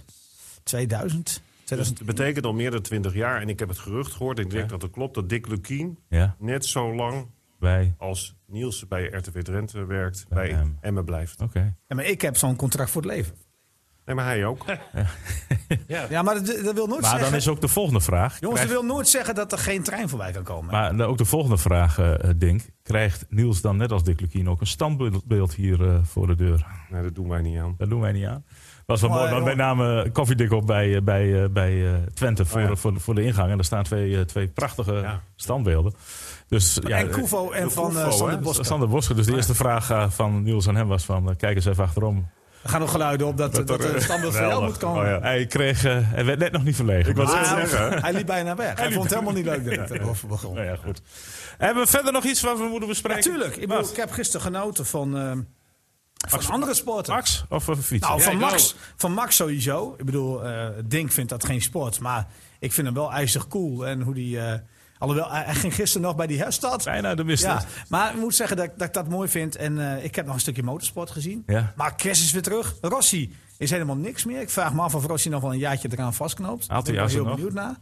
2000. Dus 2000. het betekent al meer dan 20 jaar. En ik heb het gerucht gehoord, ik denk dat het klopt, dat Dick Lukien Ja, net zo lang bij. als Niels bij RTV Drenthe werkt, Bij bij hem. Emmen blijft. Oké. Ja, maar ik heb zo'n contract voor het leven. Nee, Nee, maar hij ook. Ja, maar dat, dat wil nooit Maar dan zeggen... is ook de volgende vraag. Jongens, dat Krijgt- wil nooit zeggen dat er geen trein voorbij kan komen. maar dan ook de volgende vraag, eh, eh, Dink. Krijgt Niels dan net als Dick Lukien ook een standbeeld hier eh, voor de deur? Nee, dat doen wij niet aan. Dat doen wij niet aan. Was wel Maar, mooi, eh, want wij namen koffiedik op bij, eh, bij, eh, bij eh, Oh, Twente voor, ja. voor, voor, de ingang. En daar staan twee, eh, twee prachtige Ja. standbeelden. Dus, ja, en eh, Koevo en de van Koevo, eh, Sander hè? Bosker. Sander Bosker. Dus de eerste vraag eh, van Niels aan hem was van... eh, kijk eens even achterom. Er gaan nog geluiden op dat, dat, er, eh, er een standbeeld voor jou moet Geweldig. komen. Oh, ja. Hij kreeg... eh, hij werd net nog niet verlegen. wou Maar- zeggen. Ah, zeggen. hij liep bijna weg. Hij vond het helemaal niet leuk dat het erover begon. Nou ja, goed. Hebben we verder nog iets wat we moeten bespreken? Natuurlijk. Ik, bedoel, Wat? ik heb gisteren genoten van, eh, van andere sporten. Max of eh, een fiets? Nou, Ja, van ik Max, ook. van Max sowieso. Ik bedoel, eh, Dink vindt dat geen sport. Maar ik vind hem wel ijzig cool. En hoe die. eh, alhoewel, hij, hij ging gisteren nog bij die herstad. Bijna de mist. Ja, maar ik moet zeggen dat, dat ik dat mooi vind. En eh, ik heb nog een stukje motorsport gezien. Ja. Maar Chris is weer terug. Rossi is helemaal niks meer. Ik vraag me af of Rossi nog wel een jaartje eraan vastknoopt. Haalt hij ben ik jas wel er heel nog? benieuwd naar.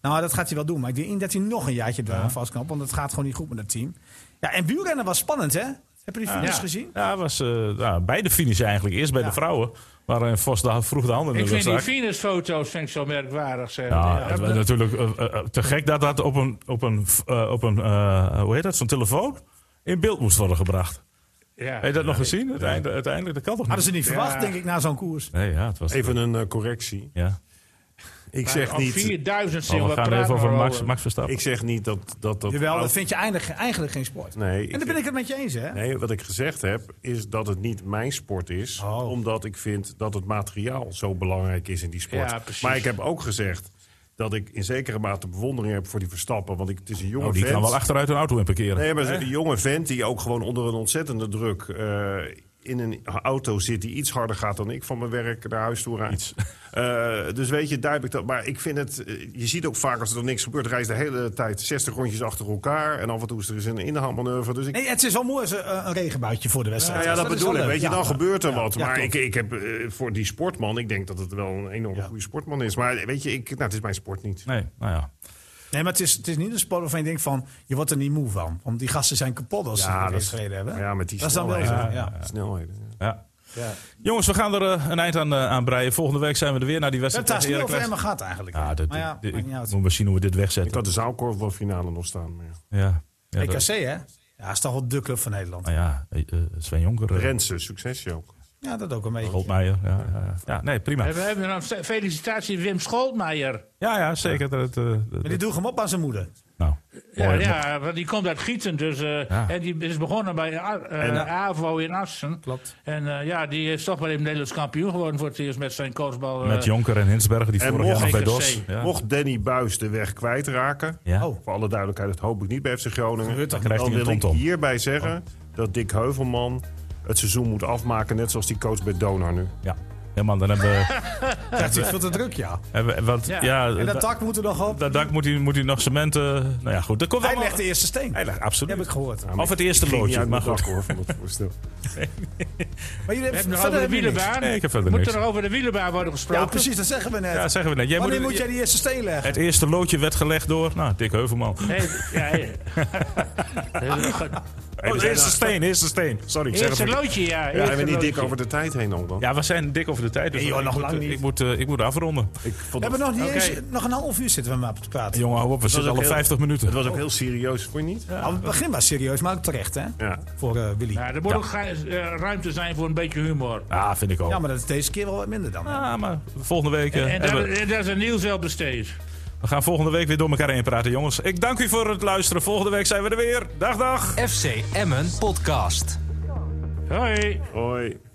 Nou, dat gaat hij wel doen. Maar ik denk niet dat hij nog een jaartje eraan vastknoopt. Want het gaat gewoon niet goed met het team. Ja, en buurrennen was spannend, hè? Heb je die finish Ja. gezien? Ja, was eh nou, bij de finish eigenlijk. Eerst bij Ja. de vrouwen. Maar eh Vos de, vroeg de handen in Ik de vind die rugzak. Venus-foto's vind ik zo merkwaardig. Zeg. Ja, Ja, het was dat- natuurlijk eh, eh, eh, te gek dat dat op een, op een, eh, op een eh, hoe heet dat, zo'n telefoon in beeld moest worden gebracht. ja. Heb je dat nog gezien? Uiteindelijk, uiteindelijk, dat kan toch niet? Hadden ze niet verwacht, denk ik, na zo'n koers. Nee, ja, het was... Even een eh, correctie. Ja. Ik Maar zeg al niet, Oh, 4000 zien Maar we wat gaan praten even over we Max, Max Verstappen. ik zeg niet dat dat... dat Jawel, dat vind je eigenlijk, eigenlijk geen sport. Nee, En daar ben ik het met je eens, hè? Nee, wat ik gezegd heb, is dat het niet mijn sport is. Oh. Omdat ik vind dat het materiaal zo belangrijk is in die sport. Ja, precies. maar ik heb ook gezegd dat ik in zekere mate bewondering heb voor die Verstappen. Want ik, het is een jonge Oh, die vent. kan wel achteruit een auto in parkeren. Nee, maar het is een jonge vent die ook gewoon onder een ontzettende druk... eh, in een auto zit die iets harder gaat dan ik van mijn werk naar huis toe rijd. Eh, dus weet je, duidelijk dat. Maar ik vind het. eh, Je ziet ook vaak als er dan niks gebeurt, rijdt de hele tijd 60 rondjes achter elkaar. En af en toe is er eens een inhaalmanoeuvre. Dus ik Nee, het is wel mooi als er, eh, een regenbuitje voor de wedstrijd. nou is. ja, dat, is bedoel wel ik. leuk. Weet je, Ja. dan gebeurt er wat. Ja, maar klopt. ik, ik heb eh, voor die sportman, ik denk dat het wel een enorm goede sportman is. Maar weet je, ik, nou, het is mijn sport niet. Nee, nou ja. Nee, maar het is, het is niet een sport waarvan je denkt van... je wordt er niet moe van. Want die gasten zijn kapot als ze Ja, ja, dat dat is- gereden hebben. Maar ja, met die dat is dan wel zo. snelheden. Ja, Snelheden. ja. ja. Ja. Jongens, we gaan er eh, een eind aan, eh, aan breien. Volgende week zijn we er weer naar die We wedstrijd. hebben het daar niet tegen over Heracles. helemaal gehad eigenlijk. Ja, dat, maar ja, dit- maakt ik niet uit. moet maar zien hoe we dit Ik wegzetten. had de zaalkorfbalfinale nog staan. Maar ja. Ja. Ja, dat- EKC, hè? Ja, is toch wel de club van Nederland. nou ja, eh, eh, Sven Jonker, eh, Rensen, succesje ook. Ja, dat ook een beetje. Goldmeijer. Ja, ja, ja. ja, nee, prima. We hebben een felicitatie Wim Scholtmeijer. Ja, ja, zeker. Dat, eh, dat- Maar die doe hem op aan zijn moeder. nou, Ja, mooi. ja, want die komt uit Gieten. Dus, eh, Ja. En die is begonnen bij A- eh, En- AVO in Assen. Klopt. En eh, ja, die is toch wel even Nederlands kampioen geworden voor het eerst met zijn coachbal. eh, Met Jonker en Hinsbergen, die En vorig jaar nog mocht bij EKC. DOS. Ja. Mocht Danny Buis de weg kwijtraken. Ja. Oh. Voor alle duidelijkheid, dat hoop ik niet bij FC Groningen. Gebeurt dat. Dan krijgt hij wil een ik tomtom. Oh. hierbij zeggen dat Dick Heuvelman het seizoen moet afmaken. Net zoals die coach bij Donar nu. ja. Ja, man, dan hebben we... Dat is veel te druk, ja. hebben we- want, ja, Ja. En dat da- dak moet er nog op. dat dak moet hij, moet hij nog cementen... Nou ja, goed. Dat komt Hij allemaal- legt de eerste steen. Hij Dat legt, absoluut. heb ik gehoord. Maar Of het eerste Ik ging niet loodje, uit maar mijn goed. dak hoor, van dat voorstel. jullie We hebben hebben verder nog over de hebben jullie niks. wielenbaan. Nee, ik heb verder Moet niks. er nog over de wielenbaan worden gesproken? Ja, precies, dat zeggen we net. Ja, zeggen we net. Jij Wanneer moet moet, jij die eerste steen leggen? Het eerste loodje werd gelegd door... Nou, Dick Heuvelman. Nee, ja, ja. Oh, de eerste steen, de eerste steen. Sorry, ik zeg het Eerste verkeerd. loodje, ja. Ja, en eerste we niet dik loodje. over de tijd heen al dan. Ja, we zijn dik over de tijd. Dus Nee, joh, ik nog moet, lang eh, niet. Ik moet, eh, ik moet afronden. Ik vond We hebben nog niet Oké. eens, nog een half uur zitten we maar te praten. Jongen, hou op. We zitten ook al op heel- 50 minuten. Het was ook heel serieus, vond je niet? Nou, het begin was serieus, maar ook terecht, hè? Ja. Voor eh, Willy. Ja, er moet ook ge- eh, ruimte zijn voor een beetje humor. Ah, vind ik ook. Ja, maar dat is deze keer wel wat minder dan. hè? Ah, maar volgende week... eh, En hebben daar, we- en daar is een nieuws wel besteed. We gaan volgende week weer door elkaar heen praten, jongens. Ik dank u voor het luisteren. Volgende week zijn we er weer. Dag, dag. FC Emmen Podcast. Hoi. Hoi.